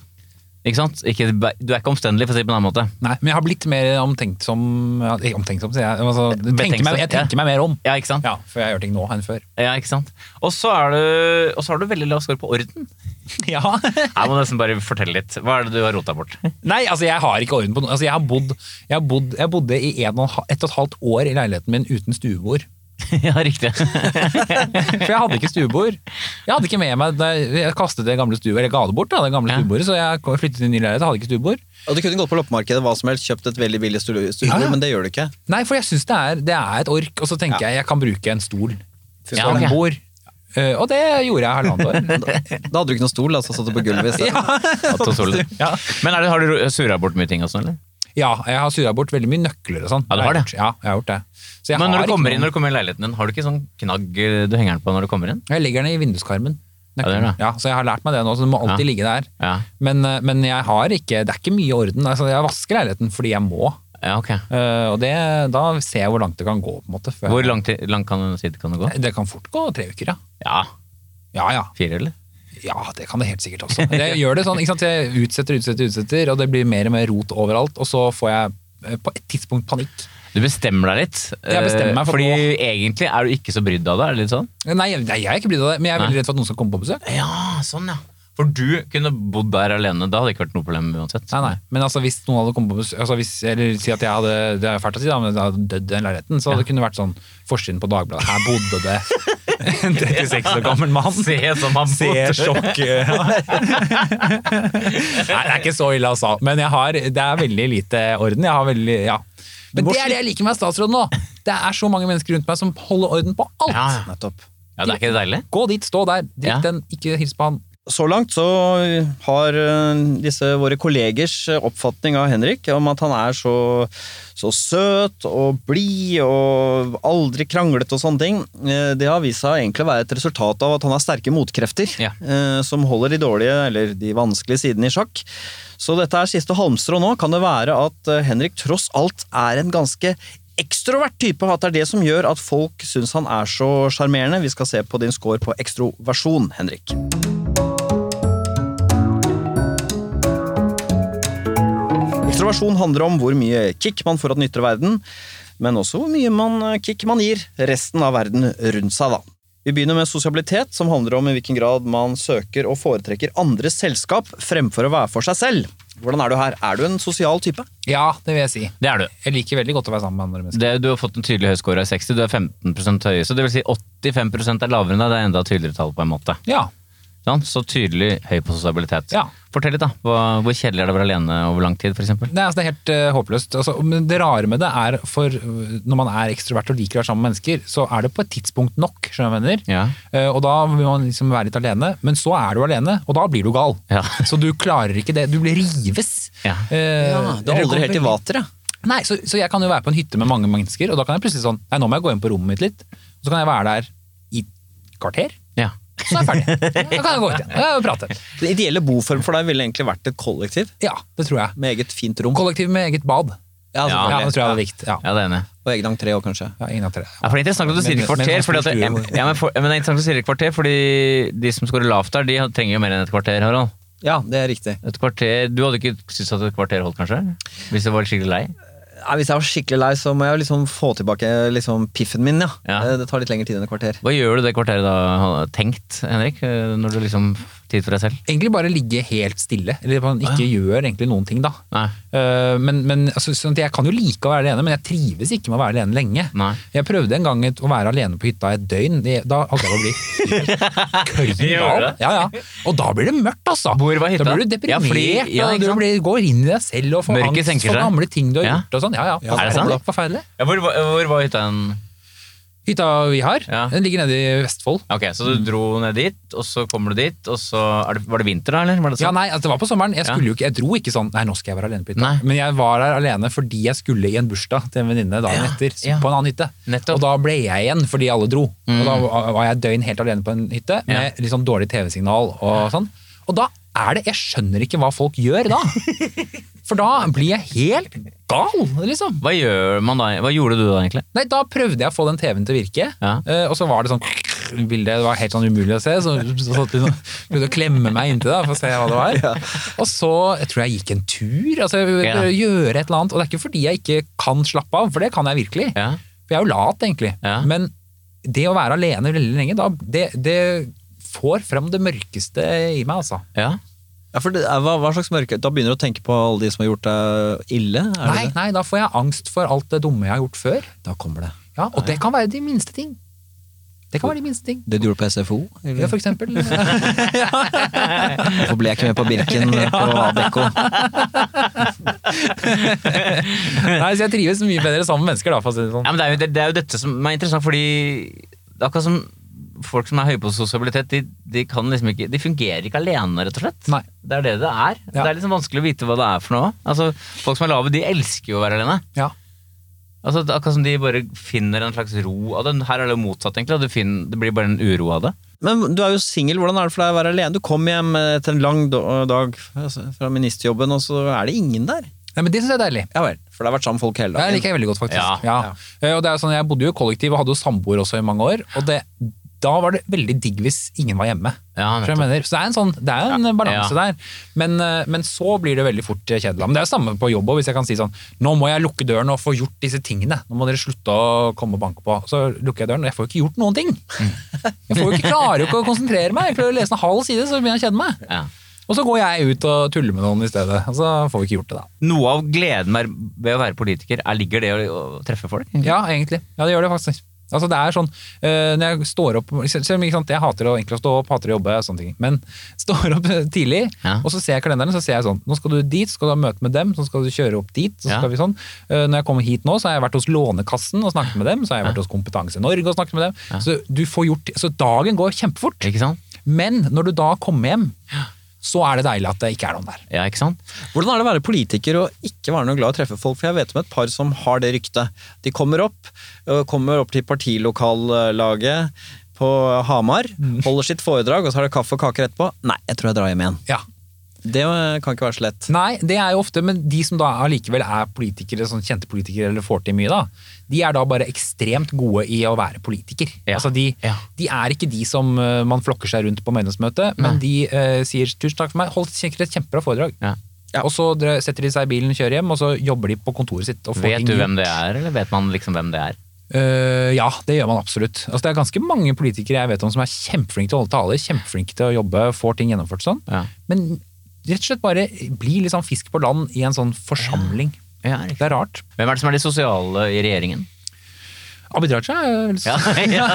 D: Ikke sant? Ikke, du er ikke omstendelig, for å si det på en annen måte.
C: Nei, men jeg har blitt mer omtenksom ja, ikke Omtenksom, sier jeg. Altså, tenker meg, jeg tenker meg mer om.
D: Ja, ikke sant?
C: Ja, For jeg gjør ting nå enn før.
D: Ja, ikke sant? Og så er du- og så har du veldig lav score på orden.
C: Ja.
D: Jeg må nesten bare fortelle litt. Hva er det du har rota bort?
C: Nei, altså jeg har ikke orden på noe. Altså, jeg, har bodd, jeg, har bodd, jeg bodde i en og en, ha- ett og et halvt år i leiligheten min uten stuebord.
D: ja, riktig.
C: For jeg hadde ikke stuebord. Jeg hadde ikke med meg det, Jeg kastet det gamle stuebordet, eller ga det bort, da, det gamle
D: Ja.
C: stuebordet, så jeg kom- flyttet til en ny leilighet og hadde ikke stuebord.
B: Og du kunne gått på loppemarkedet hva som helst, kjøpt et veldig billig studio,
C: Ja, ja.
B: men det gjør du ikke.
C: Nei, for jeg syns det, er- det er et ork, og så tenker jeg jeg kan bruke en stol.
B: Fy
C: Ja,
D: søren.
C: en bord. Eh, og det gjorde jeg halvannet år.
B: Da da hadde du ikke noen stol, altså, satt du på gulvet i stedet.
D: At du tåler det.
C: Ja.
D: Men er det, har du surra bort mye ting og sånn, eller?
C: ja, jeg har surra bort veldig mye nøkler og sånn.
D: Ja, du har det.
C: Ja, jeg har gjort det. Så jeg
D: Men
C: har
D: når du
C: ikke
D: kommer inn
C: noen-
D: når du kommer inn i leiligheten din, har du ikke sånn knagg eh, du henger den på når du kommer inn?
C: Jeg legger den i vinduskarmen.
D: det gjør
C: Nøkkelen.
D: det.
C: Ja, så jeg har lært meg det nå, så den må alltid
D: Ja.
C: ligge der.
D: Ja,
C: Men, eh, men jeg har ikke, det er ikke mye orden. Altså, jeg vasker leiligheten fordi jeg må.
D: ja ok.
C: Eh, og det, da ser jeg hvor langt det kan gå. på en måte. før
D: Hvor
C: jeg-
D: lang tid lang kan, tid kan det gå?
C: Det kan fort gå tre uker, ja.
D: Ja,
C: Ja, ja.
D: fire, eller?
C: Ja, det kan det helt sikkert også. Jeg gjør det sånn, ikke sant? Jeg utsetter, utsetter, utsetter, og det blir mer og mer rot overalt. Og så får jeg eh, på et tidspunkt panikk.
D: Du bestemmer deg litt.
C: Jeg bestemmer meg
D: eh,
C: for
D: Fordi
C: nå.
D: egentlig er du ikke så brydd av det, er det litt sånn?
C: Nei, jeg- nei jeg er ikke brydd av det, men jeg er veldig redd for at noen skal komme på besøk.
D: Ja, sånn ja. For du kunne bodd der alene, da hadde det ikke vært noe problem uansett.
C: Nei, nei. Men altså, hvis noen hadde kommet på besøk altså, hvis, Eller si at jeg hadde det er fælt å si da, men jeg hadde dødd i den leiligheten, så hadde det kunne vært sånn forsiden på Dagbladet. Her bodde det en 36 år gammel mann.
D: Se som han
C: Se
D: bodde.
C: sjokk. eh, Ja. Nei, det er ikke så ille, altså. Men jeg har, det er veldig lite orden. Jeg har veldig, ja. Men det er det jeg liker med statsråden nå! Det er så mange mennesker rundt meg som holder orden på alt!
D: Ja, ja.
B: Nettopp.
D: ja, det er ikke det deilig?
C: Gå dit, stå der, drikk
D: Ja.
C: den, ikke hils på han.
B: Så langt så har eh, disse våre kollegers eh, oppfatning av Henrik om at han er så, så søt og blid og aldri kranglet og sånne ting, eh, det har vist seg egentlig å være et resultat av at han har sterke motkrefter
D: Ja.
B: eh, som holder de dårlige eller de vanskelige sidene i sjakk. Så dette er siste halmstrå nå. Kan det være at eh, Henrik tross alt er en ganske ekstrovert type, at det er det som gjør at folk syns han er så sjarmerende? Vi skal se på din score på ekstroversjon, Henrik. Ekstroversjon handler om hvor mye kick man får av den ytre verden, men også hvor mye man eh, kick man gir resten av verden rundt seg, da. Vi begynner med sosialitet, som handler om i hvilken grad man søker og foretrekker andres selskap fremfor å være for seg selv. Hvordan er du her? Er du en sosial type?
C: Ja, det vil jeg si.
D: Det er du.
C: Jeg liker veldig godt å være sammen med andre mennesker.
D: Det, du har fått en tydelig høy score av 60, du er 15 høy. Så det vil si 85 er lavere enn deg, det er enda tydeligere tall på en måte.
C: Ja,
D: Sånn, Så tydelig høy på sosialitet.
C: Ja.
D: Fortell litt, da. Hva, hvor kjedelig er det å være alene over lang tid, f.eks.?
C: Nei, altså, det er helt eh, håpløst. Altså, men det rare med det er for øh, når man er ekstrovert og liker å være sammen med mennesker, så er det på et tidspunkt nok, skjønner du hva jeg mener.
D: Ja.
C: Eh, og da vil man liksom være litt alene, men så er du alene, og da blir du gal.
D: Ja.
C: Så du klarer ikke det. Du blir rives.
D: Ja.
C: Eh,
B: Du holder helt i
C: kommer-
B: vater, ja.
C: Nei, så, så jeg kan jo være på en hytte med mange mennesker, og da kan jeg plutselig sånn Nei, nå må jeg gå inn på rommet mitt litt. Og så kan jeg være der i et kvarter,
D: ja.
C: så er jeg ferdig. Da kan jeg gå ut igjen og prate.
B: Den ideelle boform for deg ville egentlig vært et kollektiv
C: Ja, det tror jeg.
B: med eget fint rom.
C: Kollektiv med eget bad.
B: Ja,
C: Ja,
B: selvfølgelig.
C: det tror jeg hadde likt. Ja.
D: ja, det er enig.
B: Og egen entré òg, kanskje.
C: Ja, ingen av tre.
D: Ja, for det er interessant at du sier
C: Men-
D: et kvarter,
C: men-
D: fordi at, ja, men, for, men det er interessant at du sier et kvarter, fordi de som scorer lavt der, de trenger jo mer enn et kvarter, Harald.
B: Ja, det er riktig.
D: Et kvarter, Du hadde ikke syntes at et kvarter holdt, kanskje? Hvis du var skikkelig lei?
B: Nei, hvis jeg var skikkelig lei, så må jeg liksom få tilbake liksom piffen min. Ja.
D: Ja.
B: Eh, Det tar litt lengre tid enn et kvarter.
D: Hva gjør du det kvarteret da, har tenkt, Henrik? eh, Når du liksom Tid for deg selv?
C: Egentlig bare ligge helt stille. Eller man ikke gjør egentlig noen ting, da.
D: Nei.
C: Eh, Men, men altså, sånn at Jeg kan jo like å være alene, men jeg trives ikke med å være alene lenge.
D: Nei.
C: Jeg prøvde en gang et, å være alene på hytta i et døgn. Det, da holdt jeg på å bli helt klin
D: Gjorde
C: gal.
D: det?
C: ja, ja. Og da blir det mørkt, altså.
D: Hvor var hytta?
C: Da blir du deprimert.
D: Ja, fordi- ja,
C: og
D: ikke
C: du
D: sant?
C: blir, går inn i deg selv og får
D: Mørket
C: angst
D: senker
C: for
D: seg.
C: gamle ting du har
D: Ja.
C: gjort. og sånn. Ja, ja.
D: Er det sant?
C: Forferdelig, Forferdelig.
D: hvor, var- hvor var hytta hen?
C: Hytta vi har,
D: Ja.
C: den ligger nede i Vestfold.
D: Ok, Så du dro ned dit, og så kommer du dit, og så er det, Var det vinter, da, eller? Var det
C: Ja,
D: sånn?
C: nei, altså, det var på sommeren. Jeg,
D: Ja.
C: skulle jo ikke, jeg dro ikke sånn Nei, nå skal jeg være alene på hytta.
D: Nei.
C: Men jeg var der alene fordi jeg skulle i en bursdag til en venninne dagen
D: Ja,
C: etter. så-
D: ja.
C: På en annen hytte.
D: Nettopp.
C: Og
D: Mm.
C: da ble jeg igjen fordi alle dro. Og da var var jeg et døgn helt alene på en hytte med
D: Ja.
C: litt sånn dårlig TV-signal og sånn. Og da er det Jeg skjønner ikke hva folk gjør da. For da blir jeg helt gal, liksom.
D: Hva gjør man da? Hva gjorde du da, egentlig?
C: Nei, da prøvde jeg å få den TV-en til å virke,
D: Ja.
C: eh, og så var det sånn bildet, det var helt sånn umulig å se, så så satt vi sånn- prøvde å klemme meg inntil det for å se hva det var. Og så jeg tror jeg gikk en tur, altså jeg prøvde å gjøre et eller annet, og det er ikke fordi jeg ikke kan slappe av, for det kan jeg virkelig.
D: Ja.
C: For jeg er jo lat egentlig,
D: Ja.
C: men det å være alene veldig lenge, da, det, det får frem det mørkeste i meg, altså.
D: ja.
B: Ja, for det, er- hva, hva slags mørke? Da begynner du å tenke på alle de som har gjort deg ille? Er det
C: Nei,
B: det?
C: nei, da får jeg angst for alt det dumme jeg har gjort før.
B: Da kommer det.
C: Ja, og det kan være de minste ting. Det kan være de minste ting.
B: Det du gjorde på SFO? eller?
C: Ja, for eksempel.
B: Hvorfor ble jeg ikke med på Birken på Adecco?
C: Nei, så jeg trives mye bedre sammen med mennesker, da, for å si det sånn.
D: Ja, men det, er jo, det, det er jo dette som er interessant, fordi det er akkurat som folk som er høye på sosialitet, de, de kan liksom ikke De fungerer ikke alene, rett og slett.
C: Nei.
D: Det er det det er.
C: Ja.
D: Det er liksom vanskelig å vite hva det er for noe. Altså, folk som er lave, de elsker jo å være alene.
C: Ja.
D: Altså, det er akkurat som de bare finner en slags ro av det. Her er det jo motsatt, egentlig. at Du finner, det blir bare en uro av det.
B: Men du er jo singel, hvordan er det for deg å være alene? Du kom hjem etter en lang do- dag altså, fra ministerjobben, og så er det ingen der.
C: Nei, men det syns jeg er deilig.
B: Ja vel, for det har vært sammen folk hele
C: Det
B: dagen.
C: liker jeg veldig godt, faktisk.
D: Ja.
C: Ja. Eh, Og det er jo sånn, Jeg bodde jo i kollektiv og hadde jo samboer også i mange år. Og det, da var det veldig digg hvis ingen var hjemme.
D: Ja,
C: tror jeg
D: nettopp.
C: mener. Så det er en, sånn, det er en balanse
D: Ja.
C: der. Men, eh, men så blir det veldig fort kjedelig. Men det er jo samme på jobb òg, hvis jeg kan si sånn Nå må jeg lukke døren og få gjort disse tingene. Nå må dere slutte å komme og banke på. Så lukker jeg døren, og jeg får jo ikke gjort noen ting.
D: Mm.
C: Jeg får jo ikke klarer jo ikke å konsentrere meg. Jeg prøver å lese en halv side, så begynner jeg å kjede meg.
D: Ja.
C: Og så går jeg ut og tuller med noen i stedet. Og så får vi ikke gjort det, da.
D: Noe av gleden med- ved å være politiker er ligger det i å, å treffe folk.
C: Ja, egentlig. Ja, det gjør det faktisk. Altså, det er sånn, øh, når jeg står opp selv- selv om, ikke sant, Jeg hater å, egentlig å stå opp, hater å jobbe, sånne ting. Men står opp øh, tidlig,
D: Ja.
C: og så ser jeg kalenderen, så ser jeg sånn Nå skal du dit, så skal du ha møte med dem, så skal du kjøre opp dit. så
D: Ja.
C: skal vi sånn. Øh, når jeg kommer hit nå, så har jeg vært hos Lånekassen og snakket med dem. Så har jeg vært hos Kompetanse Norge og snakket med dem. Så, du får gjort, så dagen går kjempefort.
D: Ikke sant?
C: Men når du da kommer hjem, så er det deilig at det ikke er noen der.
D: Ja, ikke sant?
B: Hvordan er det å være politiker og ikke være noe glad i å treffe folk? For jeg vet om et par som har det ryktet. De kommer opp, øh, kommer opp til partilokallaget på Hamar, holder sitt foredrag, og så har de kaffe og kaker etterpå. Nei, jeg tror jeg drar hjem igjen.
C: Ja.
B: Det øh, kan ikke være så lett.
C: Nei, det er jo ofte, men de som da allikevel er politikere, sånn kjente politikere eller får til mye, da, de er da bare ekstremt gode i å være politiker.
D: Ja,
C: Altså de,
D: ja.
C: de er ikke de som eh, man flokker seg rundt på medlemsmøte, men de eh, sier 'tusen takk for meg', holdt sikkert et kjempebra foredrag.
D: Ja.
C: Og så dre- setter de seg i bilen, kjører hjem, og så jobber de på kontoret sitt. Og får
D: Vet
C: ting
D: du
C: gjort.
D: hvem det er, eller vet man liksom hvem det er?
C: Eh, ja, det gjør man absolutt. Altså, det er ganske mange politikere jeg vet om som er kjempeflinke til å holde taler, kjempeflinke til å jobbe, får ting gjennomført sånn.
D: Ja.
C: Men rett og slett bare bli litt sånn fisk på land i en sånn forsamling.
D: Ja, riktig.
C: det er rart.
D: Hvem er det som er de sosiale i regjeringen?
C: Abid Raja er jo sånn. veldig
D: Ja, ja.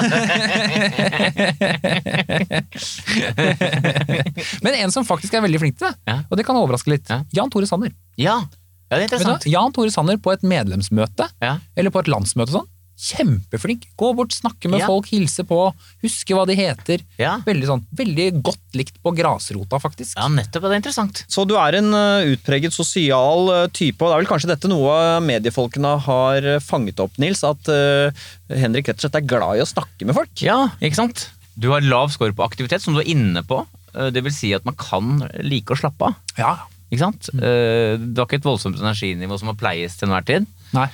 C: Men en som faktisk er veldig flink til det,
D: Ja.
C: og det kan overraske litt,
D: Ja.
C: Jan Tore Sanner.
D: ja. ja
C: Vet du hva?
D: det er interessant.
C: Jan Tore Sanner på et medlemsmøte,
D: Ja.
C: eller på et landsmøte og sånn, kjempeflink. Gå bort, snakke med
D: Ja.
C: folk, hilse på, huske hva de heter.
D: Ja.
C: Veldig sånn, veldig godt likt på grasrota, faktisk.
D: ja, nettopp. Det er interessant.
B: Så du er en øh, utpreget sosial øh, type, og det er vel kanskje dette noe mediefolkene har øh, fanget opp, Nils, at øh, Henrik rett og slett er glad i å snakke med folk.
D: Ja, ikke sant? Du har lav score på aktivitet, som du er inne på. Eh, Det vil si at man kan like å slappe av.
C: Ja.
D: Ikke sant? Eh, Du har ikke et voldsomt energinivå som må pleies til enhver tid.
C: Nei.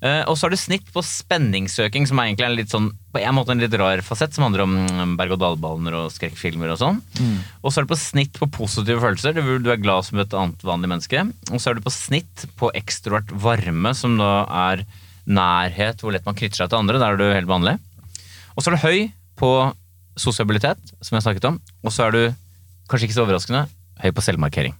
D: Eh, Og så har du snitt på spenningssøking, som er egentlig en litt sånn, på en måte en litt rar fasett, som handler om mm, berg-og-dal-baner og skrekkfilmer og sånn. Og så er du på snitt på positive følelser, det vil- du er glad som et annet vanlig menneske. Og så er du på snitt på ekstrovert varme, som da er nærhet, hvor lett man knytter seg til andre. Der er du helt vanlig. Og så er du høy på sosialitet, som jeg snakket om. Og så er du, kanskje ikke så overraskende, høy på selvmarkering.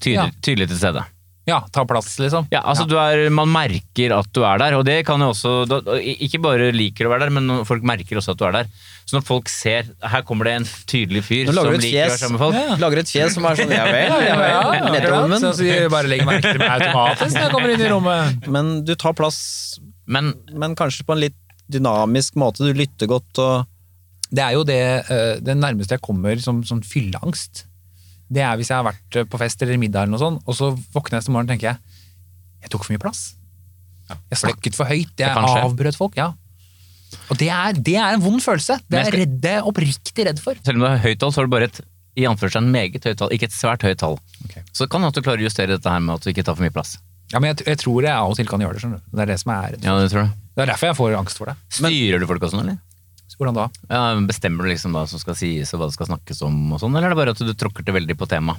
D: Tydelig,
C: Ja.
D: tydelig til stede.
C: Ja, ta plass, liksom.
D: Ja, altså Du er, Man merker at du er der, og det kan jo også da, Ikke bare liker å være der, men folk merker også at du er der. Så når folk ser Her kommer det en tydelig fyr
B: Nå
D: som
B: lager du
D: liker
B: et
D: å være
B: fjes,
D: sammen med folk.
B: lager et fjes som er sånn, ja vel, ja vel,
C: akkurat.
B: nedover,
C: Så
B: men,
C: jeg bare legger merke til meg automatisk når jeg kommer inn i rommet.
B: men du tar plass
D: Men
B: men kanskje på en litt dynamisk måte. Du lytter godt og
C: Det er jo det, eh, det nærmeste jeg kommer som, som fylleangst. Det er hvis jeg har vært eh, på fest eller middag, eller noe sånt, og så våkner jeg neste morgen og tenker jeg, jeg tok for mye plass. Jeg snakket for høyt, jeg
D: kan skje.
C: avbrøt folk. ja. Og det er, det er en vond følelse. Det
D: Men jeg
C: er
D: skal-
C: jeg redd, det er jeg oppriktig redd for.
D: selv om det er høyt tall, så har du bare et i anførselen meget høyt tall, ikke et svært høyt tall.
C: Ok.
D: Så det kan hende at du klarer å justere dette her med at du ikke tar for mye plass.
C: Ja, men jeg, jeg tror jeg av og til kan gjøre det. skjønner du. Det er det som er
D: Ja, det tror jeg.
C: Det er derfor jeg får angst for det.
D: Styrer du folk og sånn, eller?
C: Hvordan da?
D: Ja, bestemmer du liksom hva som skal sies og hva det skal snakkes om, og sånn, eller er det bare at du tråkker til veldig på temaet?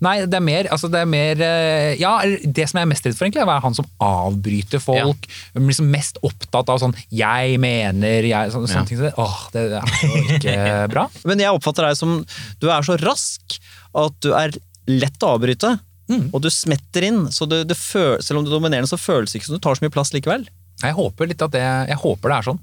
C: Nei, det er mer, altså det er mer eh, Ja, eller det som jeg er mest redd for, egentlig, er å være han som avbryter folk. Liksom mest opptatt av sånn 'jeg mener', jeg, sånne, sånne
D: Ja.
C: ting. som det. Åh, det er jo ikke bra.
B: Men jeg oppfatter deg som Du er så rask at du er lett å avbryte.
D: Mm.
B: Og du smetter inn, så du, det føl, selv om du er dominerende, så føles det ikke som du tar så mye plass likevel.
C: Jeg håper litt at det, jeg håper det er sånn.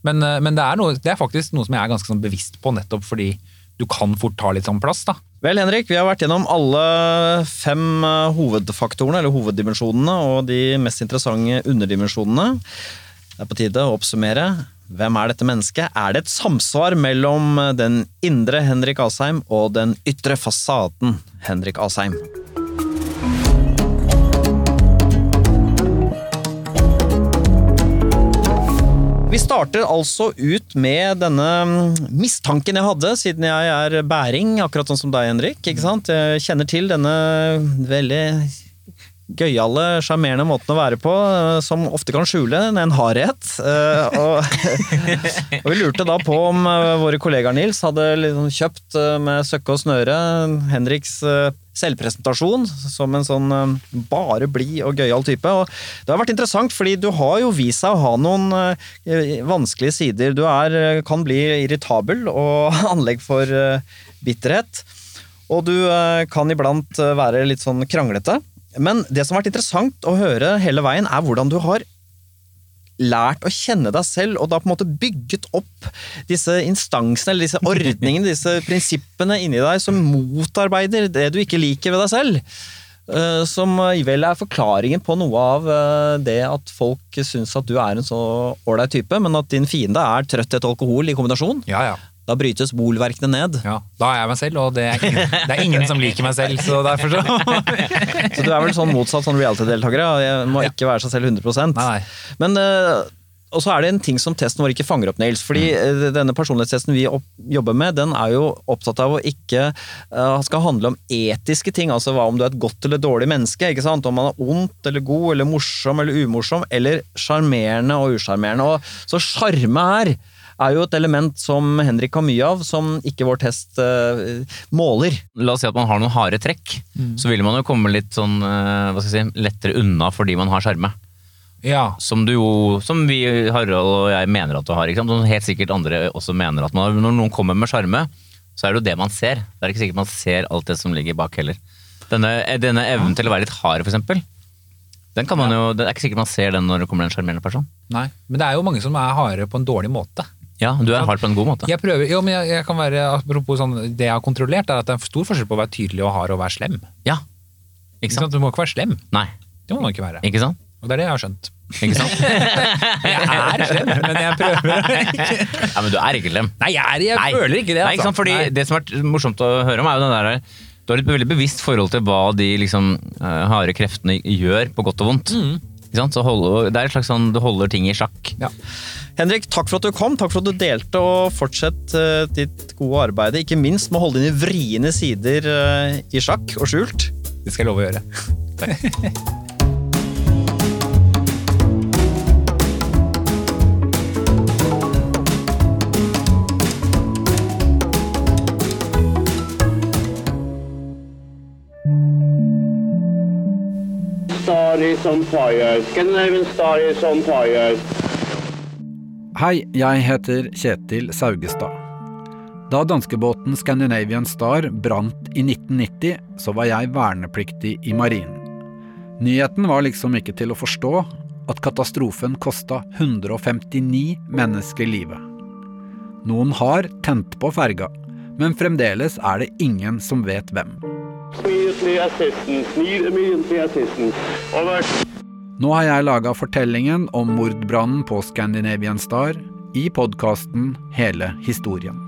C: Men, eh, men det, er noe, det er faktisk noe som jeg er ganske sånn bevisst på, nettopp fordi du kan fort ta litt sånn plass. da.
B: Vel, Henrik, vi har vært gjennom alle fem eh, hovedfaktorene, eller hoveddimensjonene, og de mest interessante underdimensjonene. Det er på tide å oppsummere. Hvem er dette mennesket? Er det et samsvar mellom eh, den indre Henrik Asheim og den ytre fasaden Henrik Asheim? Vi starter altså ut med denne mm, mistanken jeg hadde, siden jeg er bæring, akkurat sånn som deg, Henrik. ikke sant? Jeg kjenner til denne veldig gøyale, sjarmerende måten å være på, eh, som ofte kan skjule en- en hardhet. Eh, Og, og vi lurte da på om eh, våre kollegaer Nils hadde liksom kjøpt eh, med søkke og snøre Henriks eh, selvpresentasjon som en sånn eh, bare blid og gøyal type. Og det har vært interessant, fordi du har jo vist seg å ha noen eh, vanskelige sider. Du er, eh, kan bli irritabel og anlegg for eh, bitterhet. Og du eh, kan iblant eh, være litt sånn kranglete. Men det som har vært interessant å høre hele veien, er hvordan du har lært å kjenne deg selv, og da på en måte bygget opp disse instansene, eller disse ordningene, disse prinsippene inni deg som motarbeider det du ikke liker ved deg selv. Eh, Som eh, vel er forklaringen på noe av eh, det at folk syns at du er en så ålreit type, men at din fiende er trøtthet og alkohol i kombinasjon.
C: Ja, ja.
B: Da brytes bolverkene ned.
C: ja. Da er jeg meg selv, og det er, ingen, det er ingen som liker meg selv, så derfor så
B: Så du er vel sånn motsatt sånn reality-deltakere. ja. Jeg må ikke være seg selv 100
C: Nei, nei.
B: Men eh, og så er det en ting som testen vår ikke fanger opp, Nils. fordi
C: Mm.
B: eh, denne personlighetstesten vi opp, jobber med, den er jo opptatt av å ikke eh, skal handle om etiske ting. Altså hva om du er et godt eller dårlig menneske. ikke sant? Om man er ondt eller god eller morsom eller umorsom. Eller sjarmerende og usjarmerende. Og Så sjarme her er jo et element som Henrik har mye av, som ikke vår test eh, måler.
D: La oss si at man har noen harde trekk, så vil man jo komme litt sånn eh, hva skal jeg si, lettere unna fordi man har sjarme.
C: Ja.
D: Som du jo, som vi, Harald og jeg, mener at du har. Ikke sant? Som helt sikkert andre også mener at man har. Når noen kommer med sjarme, så er det jo det man ser. Det er ikke sikkert man ser alt det som ligger bak heller. Denne, eh, denne evnen til å være litt hard, for eksempel, den kan man jo, det er ikke sikkert man ser den når det kommer en sjarmerende person.
C: Nei. Men det er jo mange som er hardere på en dårlig måte.
D: Ja, du er hard på en god måte.
C: Jeg prøver, jo, men jeg, jeg kan være, apropos sånn, Det jeg har kontrollert, er at det er stor forskjell på å være tydelig og hard og være slem.
D: Ja,
C: Ikke sant? Du må ikke være slem.
D: nei,
C: Det må man ikke være.
D: ikke sant?
C: Og det er det jeg har skjønt.
D: Ikke sant?
C: Jeg er slem, men jeg prøver ikke.
D: Ja, men du er ikke slem.
C: Nei, jeg, er, jeg
D: Nei.
C: føler ikke det. altså.
D: Nei, ikke sant? Fordi
C: Nei.
D: Det som er morsomt å høre om, er jo den der Du har et veldig bevisst forhold til hva de liksom, eh, harde kreftene gjør, på godt og vondt.
C: Mm.
D: Ikke sant? Så hold, det er et slags sånn, Du holder ting i sjakk.
C: Ja.
B: Henrik, takk for at du kom, takk for at du delte, og fortsett eh, ditt gode arbeid. Ikke minst med å holde dine vriene sider eh, i sjakk og skjult.
C: Det skal jeg love å gjøre.
E: Star is on fire. Scandinavian Star is on fire.
F: Hei, jeg heter Kjetil Saugestad. Da danskebåten Scandinavian Star brant i 1990, så var jeg vernepliktig i marinen. Nyheten var liksom ikke til å forstå at katastrofen kosta 159 mennesker livet. Noen har tent på ferga, men fremdeles er det ingen som vet hvem.
E: Immediately assistance. Need immediately assistance. Over.
F: Nå har jeg laga fortellingen om mordbrannen på Scandinavian Star i podkasten Hele historien.